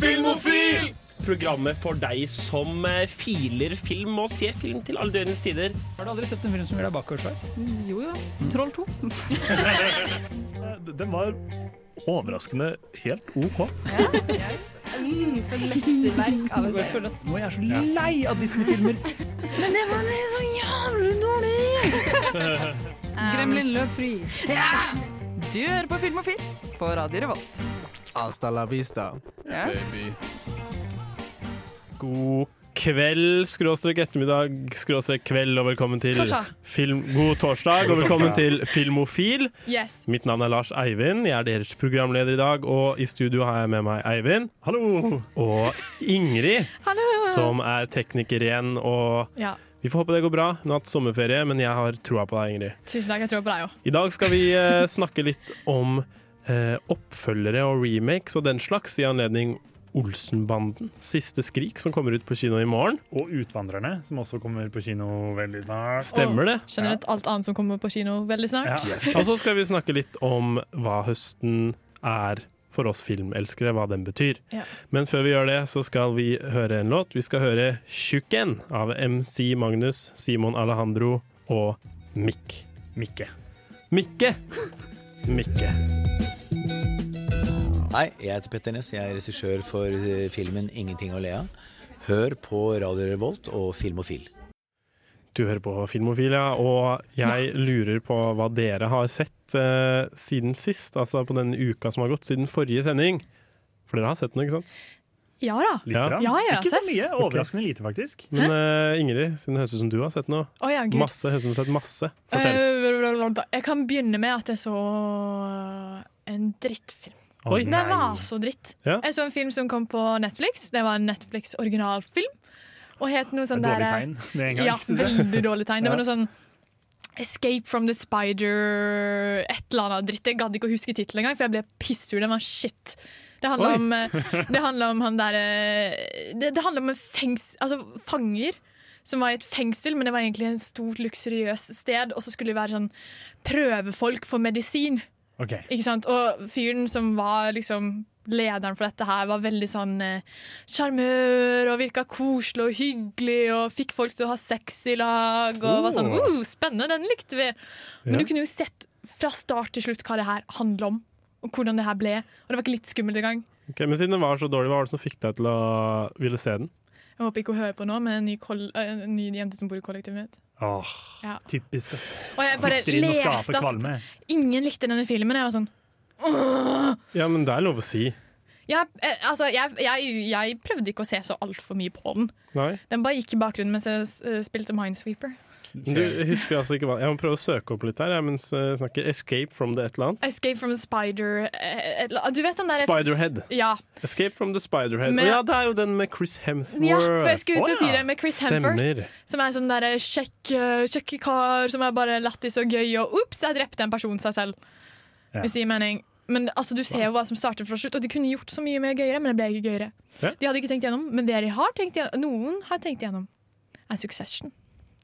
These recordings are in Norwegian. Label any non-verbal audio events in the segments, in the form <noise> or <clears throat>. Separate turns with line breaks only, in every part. Filmofil! Programmet for deg som eh, filer film og ser film til alle døgnets tider.
Har du aldri sett en film som gjør deg bakoversveis?
Jo jo. Troll 2.
Den var overraskende helt OK.
For mesterverk av en
Jeg
serie.
føler at nå er jeg så lei av Disney-filmer.
Men det var så jævlig dårlig! Gremlin løp fri.
Du hører på Film og Film på Radio Revolt.
Hasta la vista,
Ja.
baby.
God kveld, skråstrek ettermiddag, skråstrek kveld, og velkommen til
Torsdag.
film... God torsdag, og velkommen til Filmofil.
Yes.
Mitt navn er Lars Eivind, jeg er deres programleder i dag, og i studio har jeg med meg Eivind. Hallo! Og Ingrid,
Hallo!
som er tekniker igjen, og
Ja,
vi får håpe det går bra. Nå har jeg hatt sommerferie, men jeg har troa på deg, Ingrid.
tusen takk. Jeg tror på deg òg.
I dag skal vi eh, snakke litt om eh, oppfølgere og remakes og den slags i anledning Olsenbanden, Siste Skrik, som kommer ut på kino i morgen.
Og Utvandrerne, som også kommer på kino veldig snart.
Stemmer det?
Skjønner du at alt annet som kommer på kino veldig snart?
Ja.
Og så skal vi snakke litt om hva høsten er for oss filmelskere, hva den betyr.
Ja.
Men før vi gjør det, så skal vi høre en låt. Vi skal høre 'Tjukken' av MC Magnus, Simon Alejandro og Mikk.
Mikke.
Mikke! Mikke.
Hei, jeg heter Petter Ness. Jeg er regissør for eh, filmen 'Ingenting å le av'. Hør på Radio Revolt og Filmofil.
Du hører på Filmofil, ja, og jeg lurer på hva dere har sett eh, siden sist, altså på den uka som har gått, siden forrige sending. For dere har sett noe, ikke sant?
Ja da.
Litt
Ja.
grann.
Ja, ja,
Ikke så
Seff.
mye. Overraskende lite, faktisk.
Men eh, Ingrid, siden det høres ut som du har sett noe,
Å ja, gud.
masse, høres ut som du har sett masse. Fortell.
Eh, Jeg kan begynne med at jeg så en drittfilm.
Oi,
Den var så dritt.
Ja.
Jeg så en film som kom på Netflix. Det var en Netflix-originalfilm. Og het noe
Det er
sånn
et dårlig
der-
tegn med en gang.
Ja,
synes jeg.
veldig dårlig tegn. Det var noe sånn Escape from the spider Et eller annet dritt. Jeg gadd ikke å huske tittelen engang, for jeg ble pissur. Den var shit. Det handler,
Oi.
om, eh, det handler om han derre det, det handler om en fengs... Altså fanger som var i et fengsel, men det var egentlig et stort, luksuriøst sted. Og så skulle det være sånn prøvefolk for medisin.
Ok.
Ikke sant? Og fyren som var liksom lederen for dette her, var veldig sånn eh, sjarmør og virka koselig og hyggelig og fikk folk til å ha sex i lag og var sånn
Oh.
uh, spennende, den likte vi. Men
Ja.
du kunne jo sett fra start til slutt hva det her handler om. Og hvordan det her ble. Og det var ikke litt skummelt engang.
Ok, men siden den var så dårlig, hva var det som fikk deg til å ville se den?
Jeg håper ikke hun hører på nå, men en ny, koll eh, en ny jente som bor i kollektivet mitt.
Åh,
Ja.
typisk, ass.
Og jeg bare
Dytter inn og skaper
leste at
kvalme.
ingen likte denne filmen. Jeg var sånn Åh!
Ja, men det er lov å si.
Ja, eh, altså, jeg, jeg, jeg prøvde ikke å se så altfor mye på den.
Nei.
Den bare gikk i bakgrunnen mens jeg eh, spilte Minesweeper.
Men Du husker altså ikke hva Jeg må prøve å søke opp litt her jeg, mens jeg snakker. 'Escape from the et eller annet'.
Escape from a spider eh, et eller annet- Du vet den der
Spiderhead.
ja.
'Escape from the Spiderhead'.
Men-
Å ja, det er jo den med Chris
ja, for
Hemsworth.
jeg skulle ut og
Å,
si
ja.
det med Chris Hemford.
Stemmer.
Som er en sånn der eh, kjekk, eh, kjekk kar som er bare lættis og gøy, og ops, jeg drepte en person seg selv.
Ja.
Hvis det gir mening. Men altså, du ser jo hva som starter fra slutt, og de kunne gjort så mye mer gøyere, men det ble ikke gøyere.
Ja.
De hadde ikke tenkt gjennom, men det de har tenkt gjennom, noen har tenkt gjennom, er Succession.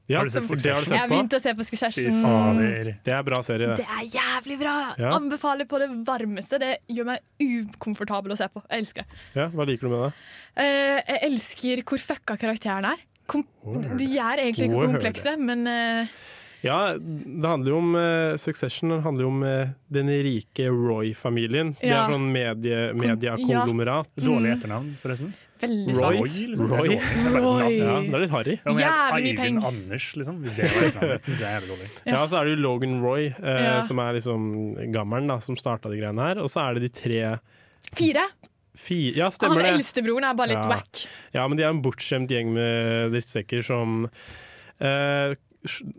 Ja,
Har du sett
det
Succession?
har du
Jeg
sett
har
på?
begynt å se på
Fy
Succession.
fader.
Det er en bra serie, det.
Det er jævlig bra!
Ja.
Anbefaler på det varmeste. Det gjør meg ukomfortabel å se på. Jeg elsker det.
Ja, hva liker du med det?
Eh, jeg elsker hvor fucka karakterene er. Kom de er egentlig ikke
Word.
komplekse, men eh,
Ja, det handler jo om eh, Succession. Den handler jo om eh, den rike Roy-familien. De
Ja.
er sånn medie, mediekonglomerat.
Mm.
Dårlig etternavn, forresten.
veldig
Roy.
svart.
liksom.
Roy.
Det er dårlig. Det er bare
Roy.
et
Ja,
navn.
det er litt harry.
Ja, men
Jævlig mye
jeg-
peng.
Eivind Anders, liksom. Hvis det var etternavnet, synes jeg er jævlig dårlig.
Ja, så er det jo Logan Roy, eh,
Ja.
som er liksom gammelen, da, som starta de greiene her. Og så er det de tre
Fire.
fi... Ja,
Han
stemmer det.
eldstebroren er bare litt
Ja.
wack.
Ja, men de er en bortskjemt gjeng med drittsekker som eh, sl-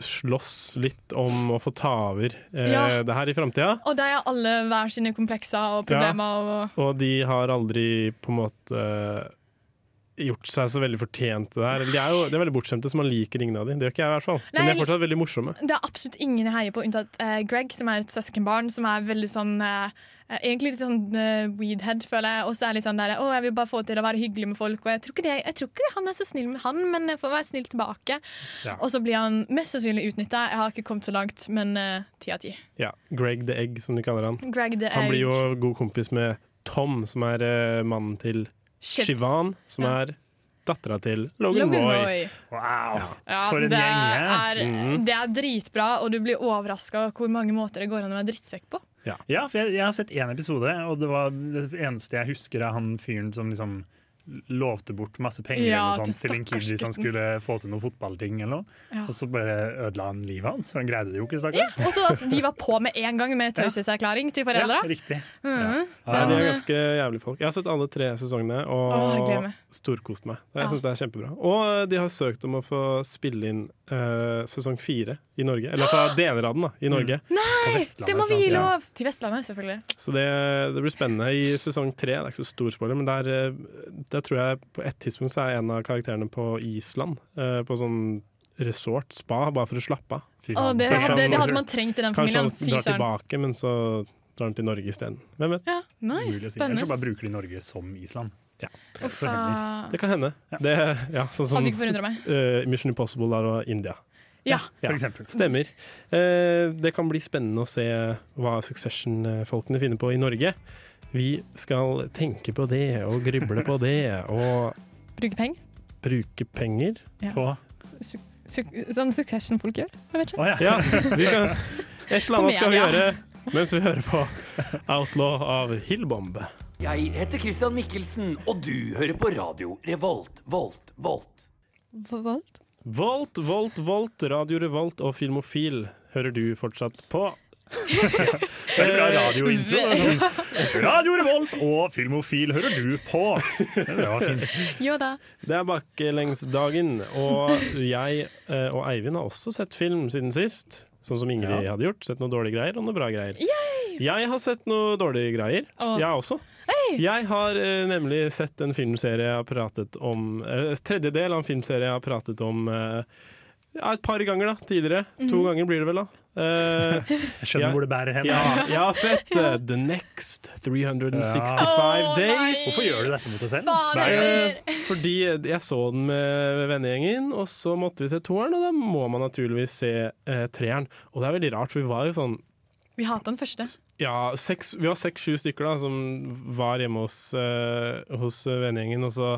slåss litt om å få ta over eh,
Ja.
det her i framtida.
Og de har alle hver sine komplekser og problemer. Og,
Og de har aldri på en måte gjort seg så veldig fortjent til det her. Eller De er jo de er veldig bortskjemte, så man liker ingen av de. Det gjør ikke jeg i hvert fall. Men de
Nei,
er fortsatt veldig morsomme.
Det er absolutt ingen jeg heier på, unntatt eh, Greg, som er et søskenbarn. Som er veldig sånn eh, eh, Egentlig litt sånn eh, weedhead, føler jeg. Og så er litt sånn der Å, jeg vil bare få til å være hyggelig med folk. Og jeg tror ikke, det, jeg tror ikke han er så snill med han, men jeg får være snill tilbake.
Ja.
Og så blir han mest sannsynlig utnytta. Jeg har ikke kommet så langt, men eh, ti av ti.
Ja, Greg the Egg, som de kaller han.
Greg, det
Han
er
blir jo god kompis med Tom, som er eh, mannen til
Shit.
Shivan, som
Ja.
er dattera til Logan,
Logan
Roy.
Roy.
Wow!
Ja,
For en
det,
gjeng, ja.
er, det er dritbra, og du blir overraska hvor mange måter det går an å være drittsekk på.
Ja, for jeg, jeg har sett én episode, og det var det eneste jeg husker er han fyren som liksom lovte bort masse penger
Ja,
eller noe sånt,
til
til en kid
stakkars
hvis han
gutten.
skulle få til noen fotballting, eller noe.
Ja.
og så bare ødela han livet hans. for Han greide det jo ikke,
Ja,
stakkar.
og så at de var på med en gang med taushetserklæring til foreldra.
riktig.
Mhm.
Nei, de er
Den-
ganske jævlige folk. Jeg har sett alle tre sesongene
Åh, jeg gleder
og
meg.
storkost meg.
Ja.
Jeg synes det er kjempebra Og eh, de har søkt om å få spille inn eh, sesong fire i Norge. Eller fra deler av den da, i Norge.
Mm.
På
Nei,
Vestlandet,
det må vi gi
kanskje.
lov! Til Vestlandet, selvfølgelig.
Så det, det blir spennende i sesong tre. Det er ikke så stor spoiler, men der, eh, der tror jeg på et tidspunkt så er en av karakterene på Island. eh, på sånn resort, spa, bare for å slappe av.
Fy
Og
faen.
det,
Kanskje
hadde,
han-
det hadde man trengt i
Kanskje
den familien.
han
Fy
drar
søren.
tilbake, men så drar han til Norge isteden. Hvem vet?
Ja,
Umulig
nice,
å si. Ellers så bare
spennende.
bruker de Norge som Island.
Uff, ah.
Det kan hende. Det, ja, sånn som
Hadde ikke forundra meg.
eh, Mission Impossible der og India.
Ja.
Ja.
For eksempel.
Stemmer. Eh, det kan bli spennende å se hva Succession-folkene finner på i Norge. Vi skal tenke på det og gruble på det og
Bruke penger.
bruke penger.
På
Su- Sånn Succession-folk gjør. Jeg vet ikke.
Å ja. <laughs>
Ja, vi kan, et eller annet skal vi
Kom igjen, ja.
gjøre mens vi hører på Outlaw av Hillbomb.
Jeg heter Christian Mikkelsen, og du hører på radio Revolt, Volt, Volt.
Vold.
Volt, Volt, Volt, Radio Revolt og Filmofil hører du fortsatt på.
Veldig bra radiointro. sånn. Radio Revolt og Filmofil hører du på! Det var fint.
Jo da.
Det er baklengsdagen, og jeg eh, og Eivind har også sett film siden sist. Sånn som Ingrid hadde gjort. Sett noe dårlige greier og noe bra greier. Jeg har sett noe dårlige greier,
Å.
jeg også. Jeg har eh, nemlig sett en filmserie jeg har pratet om uh, Tredjedel av en filmserie jeg har pratet om eh, ja, et par ganger da, tidligere. To
Mhm.
ganger blir det vel, da. Eh,
<laughs>
Jeg
Ja.
skjønner hvor det bærer hen.
ja, jeg har sett eh, The Next 365
Å,
Days.
nei.
Hvorfor gjør du dette mot deg selv?
Fader!
Fordi jeg så den med vennegjengen, og så måtte vi se toeren, og da må man naturligvis se eh, treeren. Og det er veldig rart, for vi var jo sånn
Vi hata den første.
ja, seks, Vi var seks-sju stykker da som var hjemme hos, eh, hos vennegjengen, og så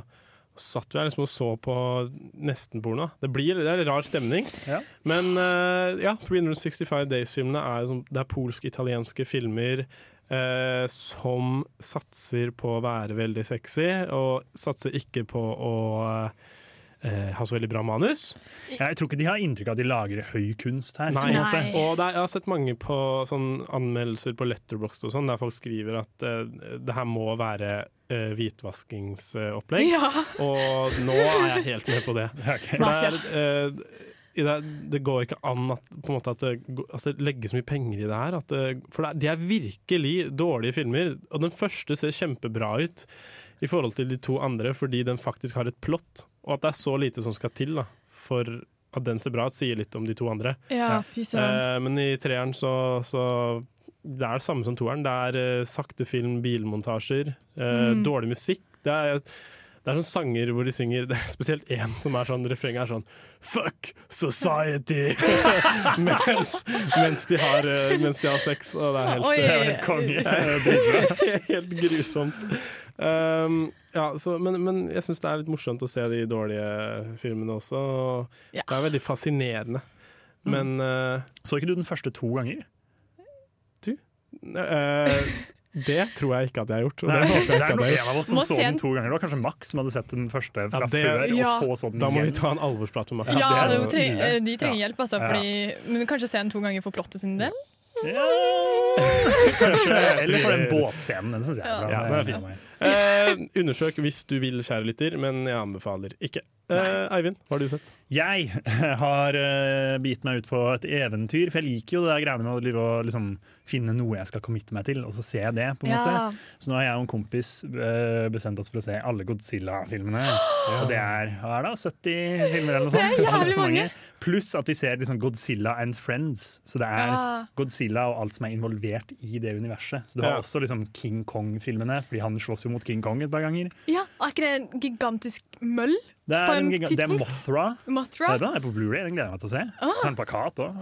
satt vi her liksom og så på nesten-porno. Det, blir- det er en rar stemning.
Ja.
Men eh, ja, 365 Days-filmene er, jo sånn- det er polsk-italienske filmer eh, som satser på å være veldig sexy, og satser ikke på å eh, ha så veldig bra manus.
Jeg tror ikke de har inntrykk av at de lager høy kunst her.
Nei.
på en måte.
Nei.
Og det er, jeg har sett mange på sånn anmeldelser på Letterboxd og sånn, der folk skriver at eh, det her må være eh, hvitvaskingsopplegg.
Ja.
Og nå er jeg helt med på det. For det, er, eh, i det, det går ikke an at, på en måte at, det, går- at det legges så mye penger i det her. At det, for det, er- de er virkelig dårlige filmer, og den første ser kjempebra ut i forhold til de to andre, fordi den faktisk har et plott, og at det er så lite som skal til da, for at den ser bra ut, sier litt om de to andre.
Ja, fy søren.
Eh, men i treeren så, så Det er det samme som toeren. Det er eh, sakte film, bilmontasjer, eh,
Mm.
dårlig musikk. Det er, det er sånne sanger hvor de synger <laughs> det er Spesielt én som er sånn refrenget er sånn Fuck society! <laughs> mens, mens, de har, eh, mens de har sex, og <laughs> det er helt
Oi.
eh,
Konge.
Helt grusomt. Um, ja, så, men, men jeg syns det er litt morsomt å se de dårlige filmene også. og
Ja. Mm.
Det er veldig fascinerende. Men uh,
Så ikke du den første to ganger?
uh, Det tror jeg ikke at jeg har gjort. Og
Nei,
det håper
det
jeg
er
ikke at
noe
jeg har gjort.
en av oss som
Må
så
se
den
den.
to ganger. Det var kanskje Max som hadde sett den første fra
Ja, det-
før, og
Ja.
så så den
Da må vi
igjen.
ta en alvorsprat med Max.
Eh,
Ja,
Ja, det er
de
jo
trenger,
ille.
eh, de trenger
Ja.
hjelp, altså.
Ja.
Fordi, men kanskje se den to ganger for plottet sin del?
<laughs>
Ja. Kanskje, eller for den båtscenen. Den syns jeg er bra.
Ja, den er fin.
Ja.
Eh, undersøk hvis du vil, kjære lytter, men jeg anbefaler ikke. Eh, Eivind, hva har du sett?
Jeg <laughs> har uh, bitt meg ut på et eventyr, for jeg liker jo det der greiene med å drive og liksom, finne noe jeg skal committe meg til, og så ser jeg det. på en
Ja.
måte. Så nå har jeg og en kompis eh, bestemt oss for å se
<gasps>
alle Godzilla-filmene. Og det er hva er det, 70 filmer eller noe
<laughs>
sånt.
Det er jævlig
Altfor
mange.
Pluss at vi ser liksom, Godzilla and Friends. Så det er
Ja.
Godzilla og alt som er involvert i det universet. Så du har
Ja.
også liksom, King Kong-filmene, fordi han slåss jo mot King Kong et par ganger.
Ja, Er ikke det en gigantisk møll?
Det er,
På en
en giga- det er
tidspunkt.
Mothra.
Mothra?
Hører du den er på Blu-ray, den gleder jeg meg til å se. Har en plakat òg.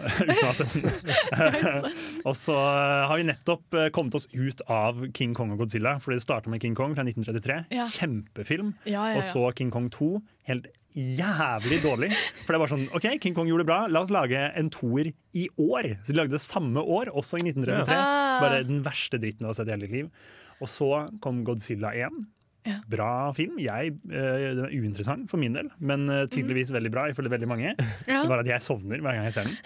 og så eh, har vi nettopp eh, kommet oss ut av King Kong og Godzilla. Fordi det starta med King Kong fra 1933.
Ja.
Kjempefilm.
Ja, ja,
Og så King Kong 2. Helt jævlig dårlig. For det er bare sånn OK, King Kong gjorde det bra, la oss lage en toer i år. Så de lagde det samme år, også i 1933.
Ja.
Bare den verste dritten jeg har sett i hele mitt liv. Og så kom Godzilla 1.
Ja.
Bra film. Jeg, eh, den er uinteressant for min del, men eh, tydeligvis veldig bra ifølge veldig mange.
Mm. <laughs> Ja.
Det er bare at jeg sovner hver gang jeg ser den.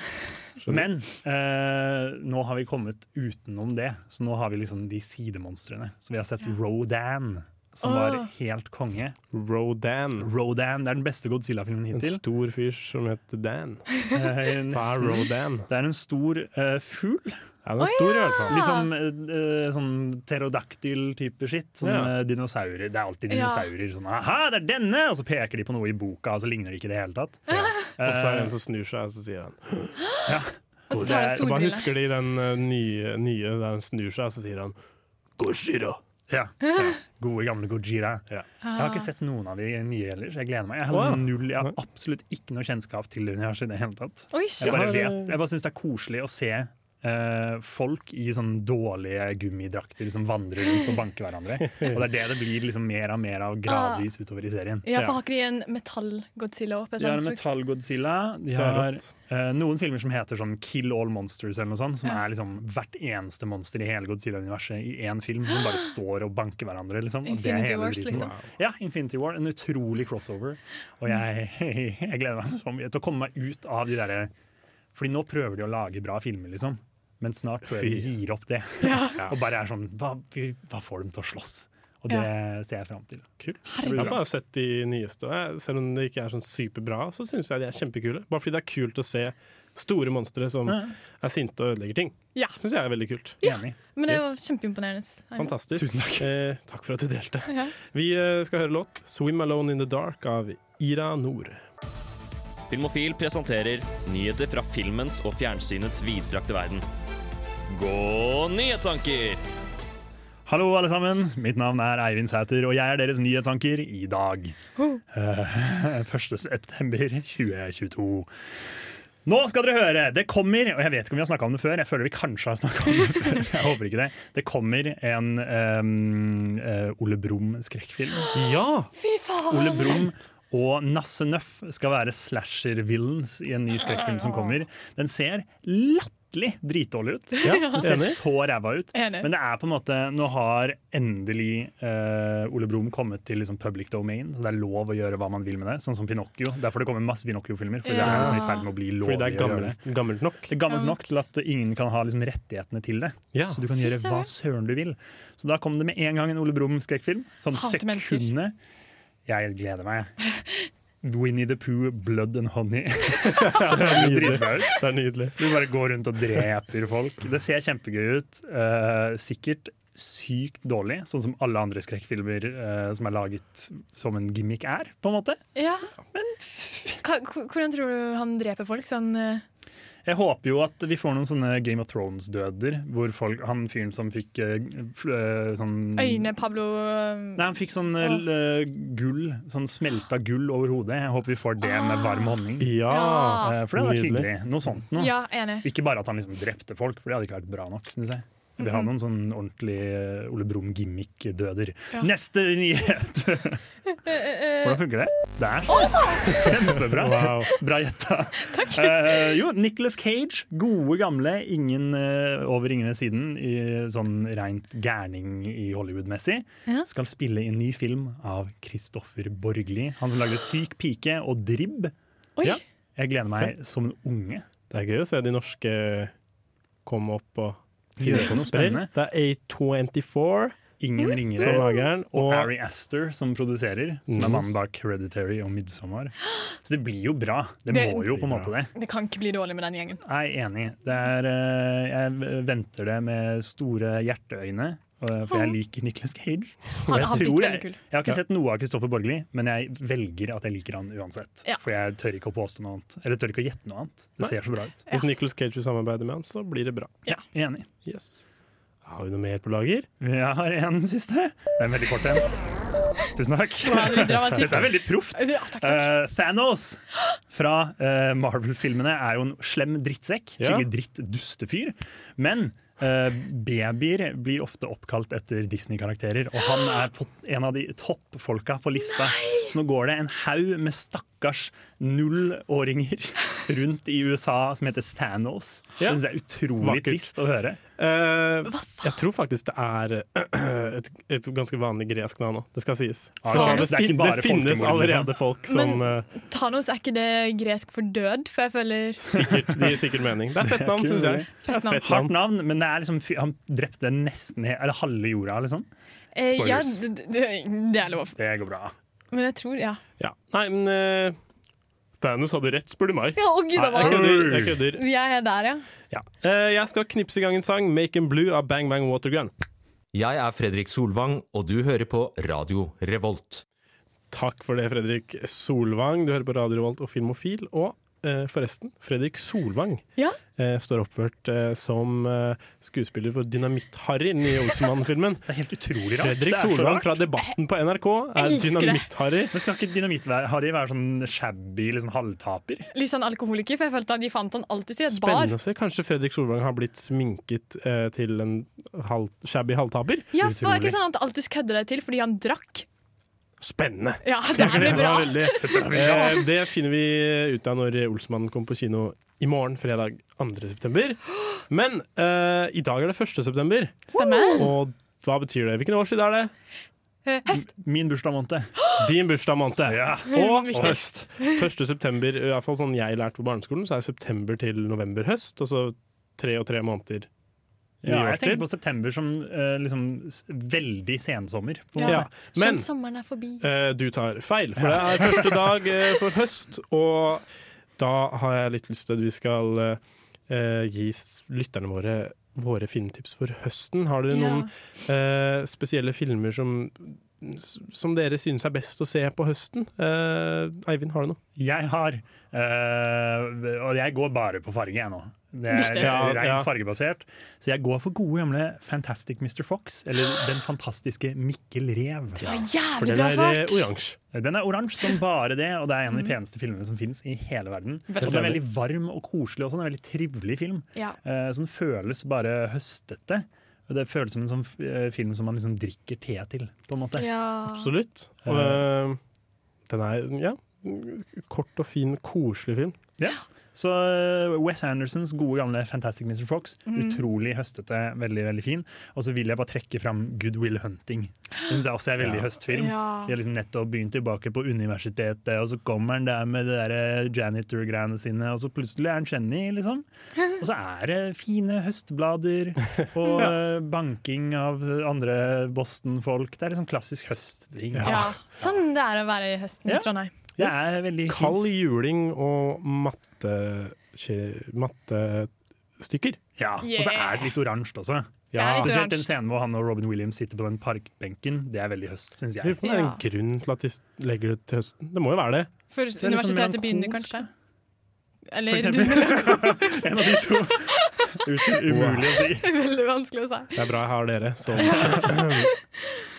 Men eh, nå har vi kommet utenom det, så nå har vi liksom de sidemonstrene. Så vi har sett Rodan, som var
Åh.
helt konge.
Rodan.
Rodan det er den beste Godzilla-filmen
En
hittil.
stor fyr som heter Dan.
Eh,
Hva er
nesten.
Rodan?
Det er en stor eh, fugl.
Ja, den er stor i hvert fall.
Liksom eh, eh, sånn pterodaktyl-type skitt. Sånn
Ja.
eh, dinosaurer. Det er alltid
Ja.
dinosaurer. Sånn 'aha, det er denne!' Og så peker de på noe i boka, og så ligner det ikke i det hele tatt. Eh,
Og så er det en som snur seg, og så sier han
Og så tar
det
jeg
er-
Jeg bare
solbriller.
husker de den eh, nye, nye der han snur seg, og så sier han Goshira.
Ja. ja. Gode, gamle Gojira.
Ja.
Jeg har ikke sett noen av de nye heller, så jeg gleder meg. Jeg har,
Å, ja.
liksom null, jeg har absolutt ikke noe kjennskap til universet i det hele tatt.
Oi,
Jeg
shit.
bare,
Ja.
vet- jeg bare syns det er koselig å se eh, folk i sånn dårlige gummidrakter som vandrer rundt og banker hverandre. Og det er det det blir liksom mer av mer av gradvis utover i serien.
Ah. Ja, for Har ikke de en metall-Godzilla opp? et
De har
eller
en
annet som-
Metall-Godzilla. De
Det er
har
rått.
eh, noen filmer som heter sånn Kill All Monsters, eller noe sånt, som er liksom hvert eneste monster i hele Godzilla-universet i én film. Som bare står og banker hverandre. Liksom. Og det er
Infinity
hele
Wars,
driten.
liksom.
Ja, Infinity War. En utrolig crossover. Og jeg, <laughs> jeg gleder meg så mye til å komme meg ut av de derre Fordi nå prøver de å lage bra filmer, liksom. Men snart tror jeg de gir opp det. og bare er sånn hva, vi- hva får dem til å slåss? Og det ser jeg fram til. Kult. Det
Jeg
blir
har
bra.
bare sett de nyeste. og jeg- Selv om det ikke er sånn superbra, så syns jeg de er kjempekule. Bare fordi det er kult å se store monstre som
Ja.
er sinte og ødelegger ting.
Ja.
Syns jeg er veldig kult.
Enig.
Men det var kjempeimponerende. Eivind.
Fantastisk.
Tusen takk.
Eh, takk for at du delte. Vi eh, skal høre låt 'Swim Alone in the Dark' av Ira Nord.
Filmofil presenterer nyheter fra filmens og fjernsynets vidstrakte verden. Gå nyhetstanker!
Hallo, alle sammen. Mitt navn er Eivind Sæter, og jeg er deres nyhetsanker i dag. Eh, <laughs> 1. september 2022. Nå skal dere høre! Det kommer, og jeg vet ikke om vi har snakka om det før, jeg føler vi kanskje har snakket om det før. Jeg håper ikke det. Det kommer en ehm, eh, Ole Brumm-skrekkfilm.
Ja!
Ole Brumm og Nasse Nøff skal være slasher-villains i en ny skrekkfilm som kommer. Den ser latterlig dritdårlig ut. den ser
enig.
så ræva ut.
Enig.
Men det er på en måte Nå har endelig eh, Ole Brumm kommet til liksom public domain, så det er lov å gjøre hva man vil med det. Sånn som Pinocchio. Derfor det kommer masse Pinocchio-filmer. Fordi det er
Ja.
liksom i ferd med å bli
Fordi
lovlig
det er
å gjøre det.
gammelt, gammelt nok.
Det er gammelt nok til at ingen kan ha liksom rettighetene til det.
Ja.
Så du kan gjøre hva søren du vil. Så da kom det med en gang en Ole Brumm-skrekkfilm. Sånn
Hater mennesker.
sekundene. Jeg gleder meg. Winnie the Pooh, Blood and Honey. <laughs> det er dritbra ut.
Det er nydelig.
Du bare går rundt og dreper folk. Det ser kjempegøy ut. Eh, sikkert sykt dårlig, sånn som alle andre skrekkfilmer eh, som er laget som en gimmick er, på en måte.
Ja. Hva- h- Hvordan tror du han dreper folk? Sånn eh,
Jeg håper jo at vi får noen sånne Game of Thrones-døder, hvor folk, han fyren som fikk eh, fl- eh, sånn
Mm.
øyne Pablo eh,
Nei, han fikk sånn eh, l- eh, gull, sånn smelta gull over hodet. Jeg håper vi får det med varm honning.
Ja!
Eh, For det hadde vært
Nydelig.
hyggelig. Noe sånt noe.
Ja, enig.
Ikke bare at han liksom drepte folk, for det hadde ikke vært bra nok. Synes jeg. Vi
Mhm.
har noen sånn ordentlig eh, Ole Brumm-gimmick-døder. Neste nyhet!
<laughs>
Hvordan funker det? Der. Kjempebra.
Wow.
Bra gjetta. Eh, jo, Nicholas Cage. Gode, gamle. Ingen eh, over ingen ved siden. I, sånn rent gærning i Hollywood-messig.
Ja.
Skal spille i en ny film av Kristoffer Borgli. Han som lagde Syk pike og Dribb.
Oi.
Ja. Jeg gleder meg som en unge.
Det er gøy å se de norske komme opp og
Gjøre på noe spennende.
Det er A24.
Mm.
Ingen ringere.
Som lageren,
og,
og-
Ari Aster som produserer, som er mannen bak Hereditary og Midsommar. Så det blir jo bra. Det
Det-
må jo på en måte det.
Det kan ikke bli dårlig med den gjengen.
Jeg er enig. Det er, eh, jeg venter det med store hjerteøyne. eh, For jeg liker Nicholas Cage. Og
Han
jeg,
har blitt
tror
veldig
jeg,
kul.
jeg har
Ja.
ikke sett noe av Kristoffer Borgli, men jeg velger at jeg liker han uansett.
Ja.
For jeg tør ikke å påstå noe annet. Eller tør ikke å gjette noe annet. Det ser så bra ut.
Hvis Nicholas Cage vil samarbeide med han, så blir det bra.
Ja,
Enig.
Yes. Har vi noe mer på lager?
Jeg har en siste. Det er en veldig kort en. Tusen takk.
Wow, det er dramatikk.
Dette er veldig proft.
Ja,
Eh, Thanos fra eh, Marvel-filmene er jo en slem drittsekk.
Ja.
Skikkelig drittdustefyr. Men eh, babyer blir ofte oppkalt etter Disney-karakterer, og han er på en av de toppfolka på lista. Så nå går det en haug med stakkars nullåringer <laughs> rundt i USA som heter Thanos.
Ja.
Det er utrolig
Vakkert.
trist å høre.
Eh, jeg tror faktisk det er eh, et, et ganske vanlig gresk navn nå. Det skal sies.
Ja,
Så
det er
det,
ikke
fin-
bare
det finnes
folkemord, liksom.
allerede folk som
Men-
eh,
Thanos, er ikke det gresk for død? For jeg føler
sikkert, Det gir sikkert mening. Det er fett navn,
Det er
syns jeg.
kult.
Det er
Fett navn.
fett
Hardt
navn.
navn, men det er liksom, fy- han drepte nesten he- eller halve jorda, liksom.
eh, ja,
Spoilers.
d- d- Det er lov.
Det går bra.
Men jeg tror Ja,
Ja. Nei, men eh, Thanos hadde rett, spør du meg.
ja å gud, da
Jeg
var
kødder. Jeg, kødder.
Jeg er der, ja.
Ja. Eh, jeg skal knipse i gang en sang, 'Make 'em Blue' av Bang Bang Watergun.
Jeg er Fredrik Solvang, og du hører på Radio Revolt.
Takk for det, Fredrik Solvang. Du hører på Radio Revolt og Filmofil. Og eh, forresten, Fredrik Solvang
Ja.
eh, står oppført eh, som eh, skuespiller for Dynamitt-Harry i den nye Olsenmann-filmen.
Det er helt utrolig rart.
Fredrik
Det er så
Solvang
rart.
fra Debatten på NRK er
Jeg elsker det.
Dynamitt-Harry.
Men skal ikke Dynamitt-Harry være sånn shabby liksom halvtaper?
Litt sånn alkoholiker, for jeg følte at de fant han alltid i et bar.
Spennende å se. Kanskje Fredrik Solvang har blitt sminket eh, til en halv, shabby halvtaper.
Ja, for det er ikke sånn at han alltid kødder deg til fordi han drakk.
Spennende!
Ja, det her blir
Det
bra.
var veldig, eh, det finner vi ut av når Olsmannen kommer på kino i morgen, fredag 2. september. Men eh, i dag er det 1. september.
Stemmer.
Og hva betyr det? Hvilken årstid er det?
Eh, Høst.
Min bursdag måned.
Din bursdag, Mante.
Ja.
Og
Viktig.
høst. 1. september, i hvert fall sånn jeg lærte på barneskolen, så er september til november høst. Og så tre og tre måneder ny
Ja, jeg tenker
årstid.
på september som eh, liksom s- veldig sensommer. på en måte.
Ja. Men
Skjønt sommeren er forbi.
eh, du tar feil, for det er første dag eh, for høst, og da har jeg litt lyst til at vi skal eh, gi s- lytterne våre våre filmtips for høsten. Har dere
Ja.
noen eh, spesielle filmer som som dere synes er best å se på høsten? Eh, Eivind, har du noe?
Jeg har eh, Og jeg går bare på farge, jeg nå. Det er
Riktig.
Ja,
rent
ja.
fargebasert. Så jeg går for gode gamle Fantastic Mr. Fox, eller Den fantastiske Mikkel Rev.
Det var
For
jævlig
den
bra
er eh,
svart!
oransje.
Den er oransje som bare det, og det er en
Mm.
av de peneste filmene som finnes i hele verden. Og den er veldig varm og koselig også, den er en veldig trivelig film.
Ja.
Eh, Så den føles bare høstete. Og Det føles som en sånn eh, film som man liksom drikker te til, på en måte.
ja.
Absolutt. Og, eh, den er ja, kort og fin, koselig film.
Så eh, Wes Andersons gode gamle 'Fantastic Mr. Fox',
Mm.
utrolig høstete, veldig veldig fin. Og så vil jeg bare trekke fram 'Good Will Hunting'. Den syns jeg også er veldig høstfilm.
Ja.
De har liksom nettopp begynt tilbake på universitetet, og så kommer han der med det der janitor-greiene sine, og så plutselig er han Jenny, liksom. Og så er det fine høstblader og eh, banking av andre Boston-folk. Det er liksom klassisk høstting.
Ja. Sånn det er å være i høsten i
Ja.
Trondheim.
Det er veldig fint.
Kald juling og matte- skje- mattestykker.
Ja. Og så er det litt oransje også.
Ja. Det er
Spesielt
litt
den scenen hvor han og Robin Williams sitter på den parkbenken. Det er veldig høst, syns
Jeg
jeg.
lurer på om det er en grunn til at de legger det til høsten. Det må jo være det.
Før
er liksom
universitetet begynner,
melankolsk,
kanskje.
For
Eller <laughs> det
eksempel. <laughs>
er <laughs>
En av de to. Ut, umulig å si.
veldig vanskelig å si.
Det er bra jeg har dere. <laughs> Så.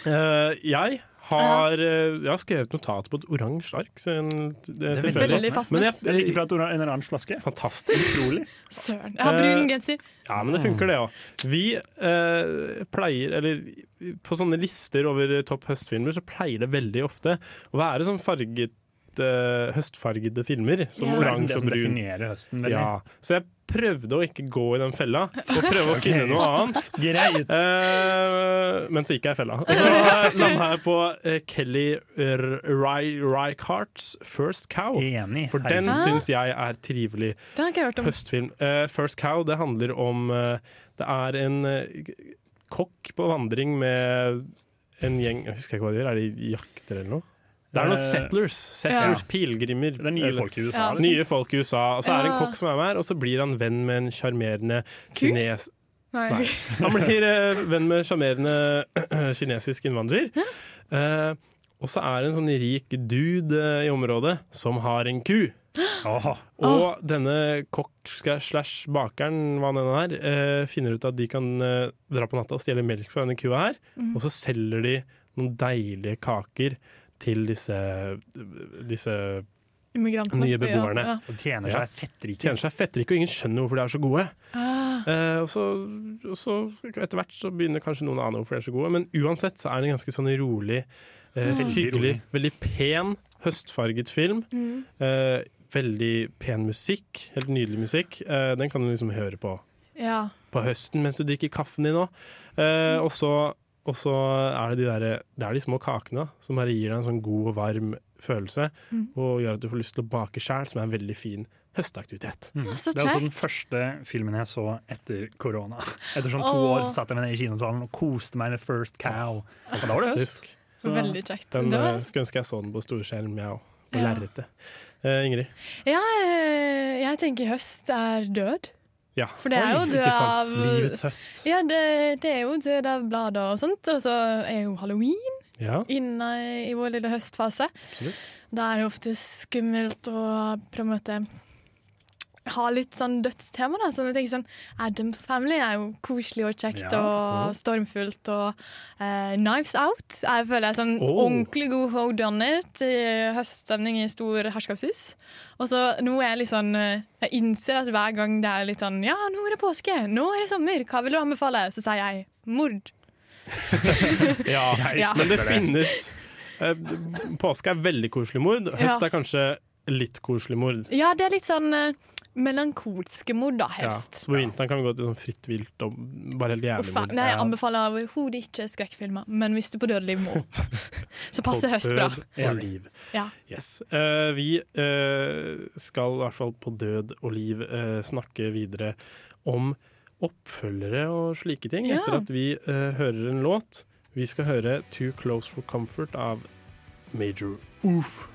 Eh, jeg har, eh, jeg har skrevet notat på et oransje ark. Så en, det er
veldig
tilfeldig.
Veldig passende.
Jeg liker fra et ora- en oransje flaske.
Fantastisk.
Utrolig.
Søren. Jeg har brun
Eh,
genser.
Ja, men det funker det òg. Vi eh, pleier, eller på sånne lister over topp høstfilmer, så pleier det veldig ofte å være sånn farget, eh, høstfargede filmer. Som
Ja.
Det er liksom
oransje
det
og
som
brun.
definerer høsten. veldig.
Ja, så jeg prøvde å ikke gå i den fella, og
<laughs>
prøve å finne noe annet. <laughs>
Greit.
Eh, men så gikk jeg i fella. Og så landa jeg på eh, Kelly R- Ry- Reichardts First Cow.
Enig.
Oh. For den syns jeg er trivelig.
Det har ikke jeg hørt om.
Høstfilm. Eh, First Cow, det handler om eh, Det er en eh, kokk på vandring med en gjeng Jeg husker ikke hva de gjør. Er de jakter eller noe? Det er noen
Eh,
settlers. Settlers,
ja.
Pilegrimer. Eh,
Det er nye folk i USA, Ja. liksom.
Nye folk i USA. Og så er det en
Ja.
kokk som er med her, og så blir han venn med en sjarmerende kines...
Nei.
Nei. Han blir eh, venn med en sjarmerende <clears throat> kinesisk innvandrer. Eh, og så er det en sånn rik dude eh, i området som har en ku.
sånn,
Og denne kokk slash- slash bakeren hva den er, eh, finner ut at de kan eh, dra på natta og stjele melk fra denne kua her.
Mhm.
Og så selger de noen deilige kaker til disse, disse
Immigrantene.
nye beboerne.
Ja, ja.
Og tjener seg fettrike.
Tjener seg fettrike, og ingen skjønner hvorfor de er så gode.
Ah.
Eh, og, så, og så etter hvert så begynner kanskje noen å ane hvorfor de er så gode, men uansett så er det en ganske sånn rolig, eh,
Mm.
hyggelig, veldig pen, høstfarget film.
Mm.
Eh, veldig pen musikk, helt nydelig musikk. Eh, den kan du liksom høre på
Ja.
på høsten mens du drikker kaffen din òg. Eh, og så og så er det de, der, det er de små kakene da, som bare gir deg en sånn god og varm følelse,
Mm.
og gjør at du får lyst til å bake sjæl, som er en veldig fin høstaktivitet.
Mm.
Så
det er også
kjekt.
den første filmen jeg så etter korona. <laughs> Etter sånn to
Åh.
år så satt jeg meg ned i kinosalen og koste meg med First Cow. Og da var det høst.
Fantastisk.
Så-
Veldig kjekt.
Den
Det var-
eh, skulle ønske jeg så den på storskjerm, jeg òg. På
Ja.
lerretet. Eh, Ingrid?
Ja, eh, jeg tenker høst er død.
Ja.
For det er jo
Oi,
død
ikke sant.
av
Livets høst.
Ja, det, det er jo død av blader og sånt. Og så er jo halloween <laughs>
Ja,
inne i vår lille høstfase.
absolutt.
Da er det ofte skummelt å på en måte ha litt sånn dødstema. da, sånn jeg tenker sånn, Adams Family er jo koselig og kjekt
Ja.
og stormfullt. Og eh, Knives Out jeg føler jeg er sånn
Oh.
ordentlig god hold on it. i Høststemning i stor herskapshus. Og så nå er jeg litt sånn eh, Jeg innser at hver gang det er litt sånn Ja, nå er det påske, nå er det sommer, hva vil du anbefale? Så sier jeg mord.
Ja,
<laughs> Jeg Ja.
men det
støtter det.
finnes eh, Påske er veldig koselig mord. Høst
Ja.
er kanskje litt koselig mord.
Ja, det er litt sånn eh, melankolske mord, da,
Ja,
helst.
så på vinteren kan vi gå til sånn fritt vilt og bare helt
Å,
jævlig
faen,
mord.
nei, jeg
Ja.
anbefaler overhodet ikke skrekkfilmer, men hvis du på dødelig må, så passer høst bra.
På død og liv.
Ja.
Yes. Eh, vi eh, skal i hvert fall på død og liv eh, snakke videre om oppfølgere og slike ting,
Ja.
etter at vi eh, hører en låt. Vi skal høre 'Too Close for Comfort' av Major Oof.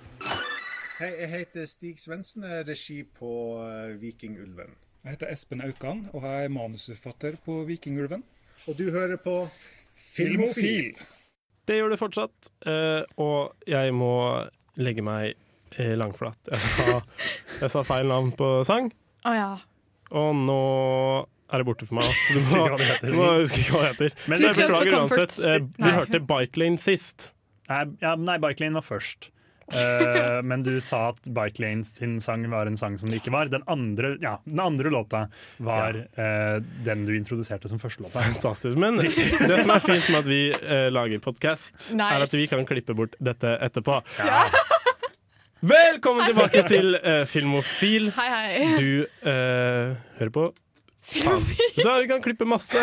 Hei, jeg heter Stig Svendsen, jeg er regi på eh, Vikingulven.
Jeg heter Espen Aukan, og jeg er manusforfatter på Vikingulven.
Og du hører på
Filmofil.
Det gjør det fortsatt, eh, og jeg må legge meg eh, langflat. Jeg
<laughs>
sa, jeg sa feil navn på sang.
Å ja.
Og nå er det borte for meg. altså.
Husker ikke hva det heter.
Nå nå husker jeg ikke hva det heter.
Men-
Men jeg
Too close for
beklager
comfort.
uansett. Eh, Vi
Nei.
hørte Bike Lane sist.
Nei, ja, nei Bike Lane var først.
<laughs>
Eh, men du sa at Bike Lane sin sang var en sang som det ikke var. Den andre, ja, den andre låta var eh, den du introduserte som første låta.
Fantastisk. Men det som er fint med at vi eh, lager podkast, er at
Nice.
vi kan klippe bort dette etterpå. Velkommen tilbake til eh, Filmofil.
Hei, hei.
Du eh, hører på Filmofil. Da, vi kan klippe masse.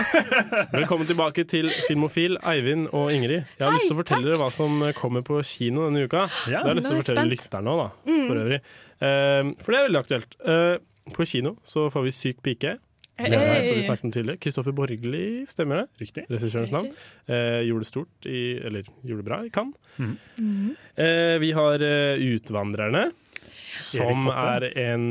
Velkommen tilbake til Filmofil, Eivind og Ingrid. Jeg har
Hei,
lyst til å fortelle dere hva som eh, kommer på kino denne uka.
Ja.
Det har jeg lyst
Nå
til å
er jeg
fortelle
spent.
lytterne òg, da.
Mm.
For øvrig. Eh, for det er veldig aktuelt. Eh, på kino så får vi Syk pike.
Hey.
Gleder meg, som vi snakket om tidligere. Kristoffer Borgli, stemmer det? Riktig. Regissørens navn.
Riktig.
Eh, gjorde det stort i Eller gjorde det bra i Cannes.
Mhm.
Eh, vi har eh, Utvandrerne, som er
Poppe.
en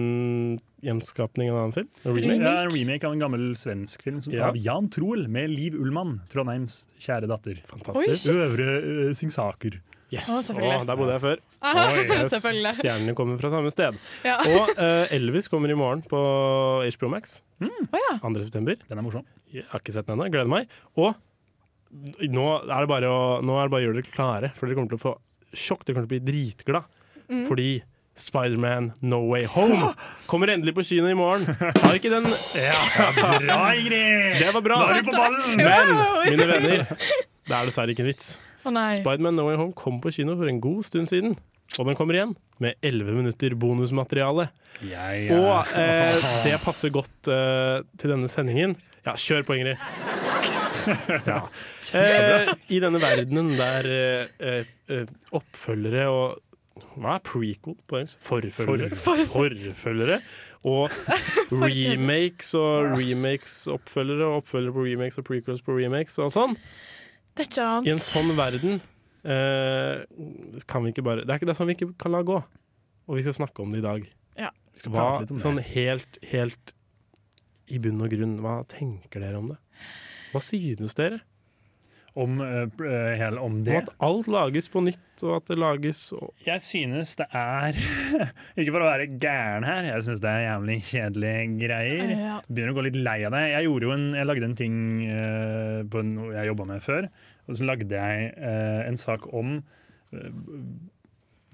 gjenskapning av en annen film. En remake.
Ja, en remake av en gammel svensk film som,
Ja.
av Jan Troel med Liv Ullmann, Trondheims kjære datter.
Fantastisk. Oi, shit.
Øvre eh, Singsaker.
Yes.
Å, selvfølgelig.
Å, der bodde jeg før.
<laughs> Ah,
Oi, yes.
selvfølgelig. Ah.
Stjernene kommer fra samme sted.
Ja.
Og eh, Elvis kommer i morgen på HBO Max. 2. september.
Den er morsom.
Jeg har ikke sett den ennå. Gleder meg. Og nå er det bare å, nå er det bare å gjøre dere klare, for dere kommer til å få sjokk. Dere kommer til å bli dritglad.
Mm.
Fordi Spiderman No Way Home kommer endelig på kino i morgen. Har ikke den
<laughs>
ja,
Bra, Ingrid!
Det var bra!
Da er du på ballen!
Men,
Wow!
mine venner, det er dessverre ikke en vits.
Å nei.
Spiderman No Way Home kom på kino for en god stund siden, og den kommer igjen med 11 minutter bonusmateriale.
ja.
Og eh, det passer godt eh, til denne sendingen. Ja, kjør på, Ingrid. Ja. Eh, I denne verdenen der eh, eh, oppfølgere og Hva er prequel på engelsk? Forfølgere.
For-
Forfølgere.
<laughs>
Og remakes og remakes-oppfølgere og oppfølgere på remakes og prequels på remakes og sånn.
Det er ikke annet.
I en sånn verden eh, kan vi ikke bare Det er, ikke, det er sånn vi ikke kan la gå. Og vi skal snakke om det i dag.
Ja.
Vi
Vi
skal
skal
hva,
prate litt om det.
sånn helt, helt i bunn og grunn, hva tenker dere om det? Hva synes dere?
Om, eh,
Om at alt lages på nytt, og at det lages og
Jeg synes det er <laughs> Ikke for å være gæren her, jeg synes det er jævlig kjedelige greier.
Ja.
Begynner å gå litt lei av det. Jeg, gjorde jo en, jeg lagde en ting eh, på noe jeg jobba med før. Og så lagde jeg eh, en sak om eh,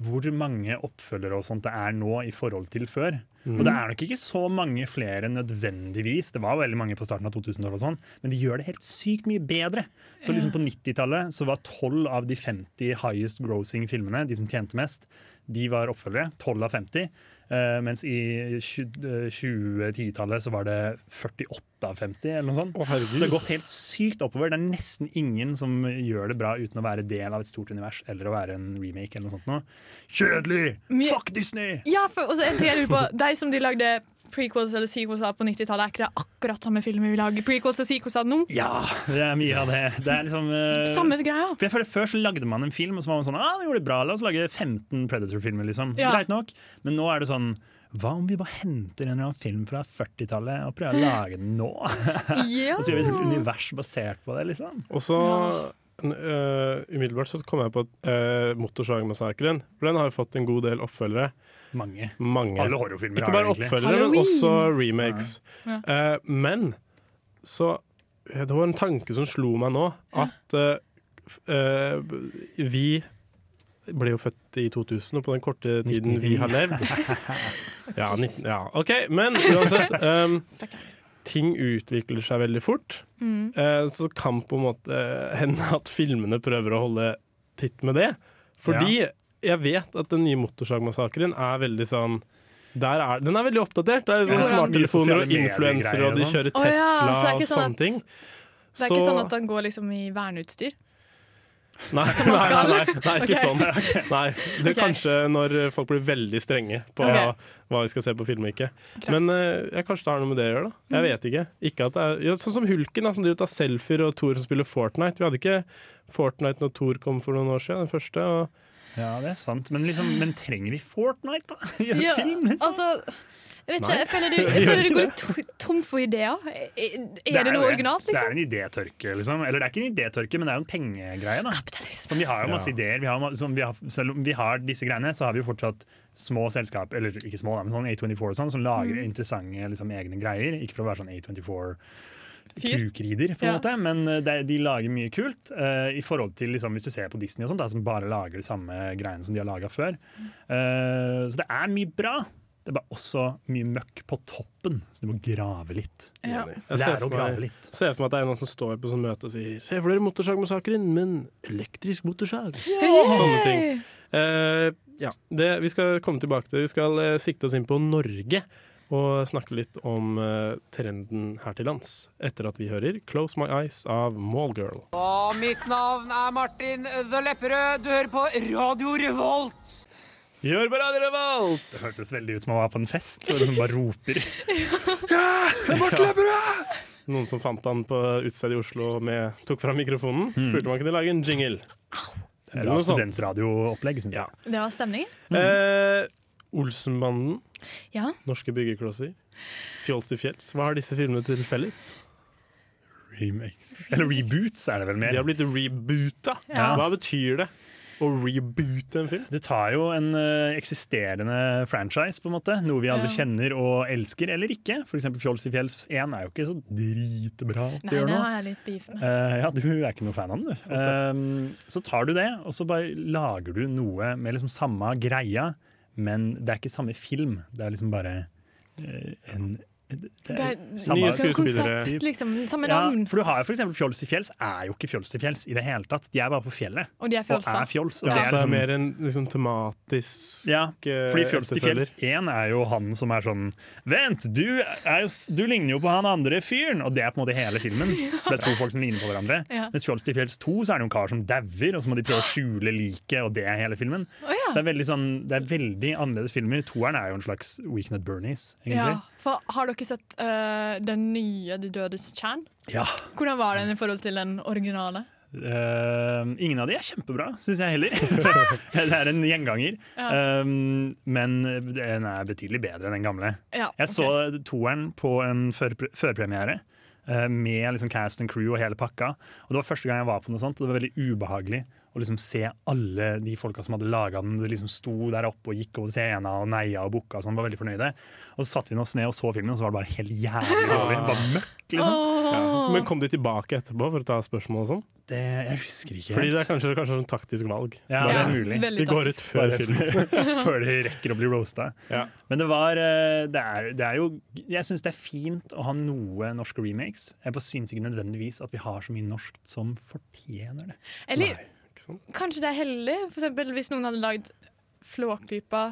hvor mange oppfølgere og sånt det er nå i forhold til før.
Mm.
Og det er nok ikke så mange flere nødvendigvis, det var veldig mange på starten av 2000-tallet, og sånn, men de gjør det helt sykt mye bedre. Så liksom på 90-tallet så var 12 av de 50 highest grossing filmene, de som tjente mest, de var oppfølgere. 12 av 50. eh, mens i tju- eh, 2010-tallet så var det 48 av 50, eller noe sånt. så det har gått helt sykt oppover. Det er nesten ingen som gjør det bra uten å være del av et stort univers eller å være en remake eller noe sånt. Noe. Kjedelig!
Mye-
Fuck Disney!
Ja, for også en ting jeg lurer på De som de lagde prequels eller sequels av på 90-tallet, er ikke det akkurat samme filmer vi lager prequels og sequels av nå?
Ja, det er mye av det. Det er liksom eh,
Samme greia.
For jeg føler Før så lagde man en film, og så var man sånn ah, det gjorde det bra, la oss lage 15 Predator-filmer. liksom.
Ja.
Greit nok. Men nå er det sånn hva om vi bare henter en eller annen film fra 40-tallet og prøver å lage den nå? <laughs>
Ja.
og så gjør vi et helt univers basert på det, liksom.
Og så n- øh, umiddelbart så kom jeg på øh, Motorsagmassakren. For den har jo fått en god del oppfølgere.
Mange.
Mange.
Alle horrorfilmer
Ikke
har
bare
det, egentlig.
oppfølgere,
Halloween!
men også remakes.
Ja.
Eh, men så eh, Det var en tanke som slo meg nå, at eh, f- eh, b- vi ble jo født i 2000, og på den korte tiden vi har
<laughs>
levd ja, 19, ja, OK, men uansett. ehm, ting utvikler seg veldig fort.
Mm.
Eh, så kan på en måte eh, hende at filmene prøver å holde titt med det. Fordi jeg vet at den nye motorsagmassakren er veldig sånn der er, Den er veldig oppdatert. Det er sånn
Ja. Mye
smarttelefoner
sosiale
og influensere,
medier-greier
og de
og sånn.
kjører
Å
Tesla
ja, så det er
og
ikke sånn
sånne
at-
ting.
Det er ikke sånn at han går liksom i verneutstyr.
<laughs> Nei,
som
nei,
man
nei, nei,
skal.
det er ikke
Ok.
sånn.
<laughs>
Nei, det er
Ok.
kanskje når folk blir veldig strenge på
Ok.
hva vi skal se på film og ikke. Men eh, jeg kanskje det har noe med det å gjøre, da.
Mm.
Jeg vet ikke. ikke at det er, ja, sånn som Hulken, da, som driver og tar selfier, og Thor som spiller Fortnite. Vi hadde ikke Fortnite når Thor kom for noen år siden, den første. Og
Ja, det er sant. Men, liksom, men trenger vi Fortnite, da? <laughs> I en
Ja,
film? liksom?
altså, jeg vet ikke,
Nei.
jeg
<laughs>
føler du, jeg
Gjør
føler
ikke
du går
det.
to, tom for ideer. Er,
er
det
jo
noe originalt,
Det er
liksom?
en idétørke, liksom. Eller det er ikke en idétørke, men det er jo en pengegreie. da. Som vi har jo masse
Ja.
ideer. Vi har, ma- som vi har, selv om vi har disse greiene, så har vi jo fortsatt små selskap, eller ikke små, da, men sånn A24 og sånn, som lager
Mm.
interessante liksom, egne greier. Ikke for å være sånn A24
Fyr.
kukrider, på en
Ja.
måte, men eh, det, de lager mye kult. eh, I forhold til liksom, Hvis du ser på Disney, og sånt, da, som bare lager de samme greiene som de har laga før. Eh, så det er mye bra. Det er bare også mye møkk på toppen, så du må grave litt.
Jeg ser
Lære å
for,
grave
meg,
litt.
ser for meg at det er noen som står på sånn møte og sier Se for dere motorsagmassakren, men elektrisk motorsag.
Yay!
Sånne ting. Eh, ja, det, vi skal komme tilbake til Vi skal eh, sikte oss inn på Norge og snakke litt om eh, trenden her til lands. Etter at vi hører 'Close My Eyes' av Mallgirl.
Og mitt navn er Martin The Lepperød. Du hører på Radio Revolt.
Gjør på Radio Revolt! Det hørtes veldig ut som om man var på en fest, og liksom bare roper.
Noen som fant han på utestedet i Oslo med tok fram mikrofonen. Spurte om han kunne lage en jingle.
Det er Bra studentradioopplegg, syns jeg.
Det var stemningen.
Eh, Olsenbanden,
Ja.
Norske byggeklosser, Fjols til fjells. Hva har disse filmene til felles?
Remakes. Eller reboots, er det vel mer.
De har blitt reboota.
Ja.
Hva betyr det å reboote en film?
Du tar jo en ø, eksisterende franchise, på en måte. Noe vi alle
Ja.
kjenner og elsker, eller ikke. For eksempel Fjols i fjells 1 er jo ikke så dritbra. at de
Nei,
gjør
det
noe.
har jeg litt beef med.
Eh, ja, du er ikke noe fan av den,
Sånn,
du. Ehm, så tar du det, og så bare lager du noe med liksom samme greia, men det er ikke samme film. Det er liksom bare eh, en
Det er- Nye skuespillere. konsept, liksom, samme navn.
eh, Ja, for du har jo for eksempel Fjols til fjells, er jo ikke Fjols til fjells i det hele tatt. De er bare på fjellet.
Og de er fjolsa.
fjols. Og
Ja,
det
så
er
det er
liksom,
mer en liksom, tematisk eh,
ja, fordi Fjols til fjells
etterfølger.
1 er jo han som er sånn Vent, du, er jo, s- du ligner jo på han andre fyren! Og det er på en måte hele
<laughs>
filmen. Det er to folk som ligner på hverandre.
Ja.
Mens Fjols til fjells 2 så er det jo en kar som dauer, og så må de prøve å skjule liket, og det er hele filmen.
Å, ja.
det, er veldig sånn, det er veldig annerledes filmer. Toeren er jo en slags Weekend at Bernies,
Ja,
egentlig.
for har dere sett eh, den nye De dødes tjern?
Ja.
Hvordan var den i forhold til den originale?
Eh, ingen av de er kjempebra, syns jeg heller. <laughs> det er en gjenganger.
Ja.
Eh, men eh, den er betydelig bedre enn den gamle.
Ja,
Jeg så toeren på en førpre- førpremiere. eh, Med liksom cast and crew og hele pakka. Og Det var første gang jeg var på noe sånt, og det var veldig ubehagelig å liksom se alle de folka som hadde laga den. De liksom sto der oppe og gikk over scenen og neia og booka og sånn. Var veldig fornøyde. Og så satte vi oss ned og så filmen, og så var det bare helt jævlig dårlig. Bare møkk, liksom.
Ja. Men kom de tilbake etterpå for å ta spørsmål og sånn?
Det, jeg husker ikke
Fordi
helt.
det er kanskje, kanskje en taktisk valg.
Ja,
Bare-
det er mulig.
De går
<laughs>
ut før
Bare
filmen.
før de rekker å bli roasta. Men det var eh, det er, det er jo Jeg syns det er fint å ha noe norske remakes. Jeg bare syns ikke nødvendigvis at vi har så mye norskt som fortjener det.
Eller
ikke sant?
kanskje det er heldig, for eksempel hvis noen hadde lagd Flåklypa.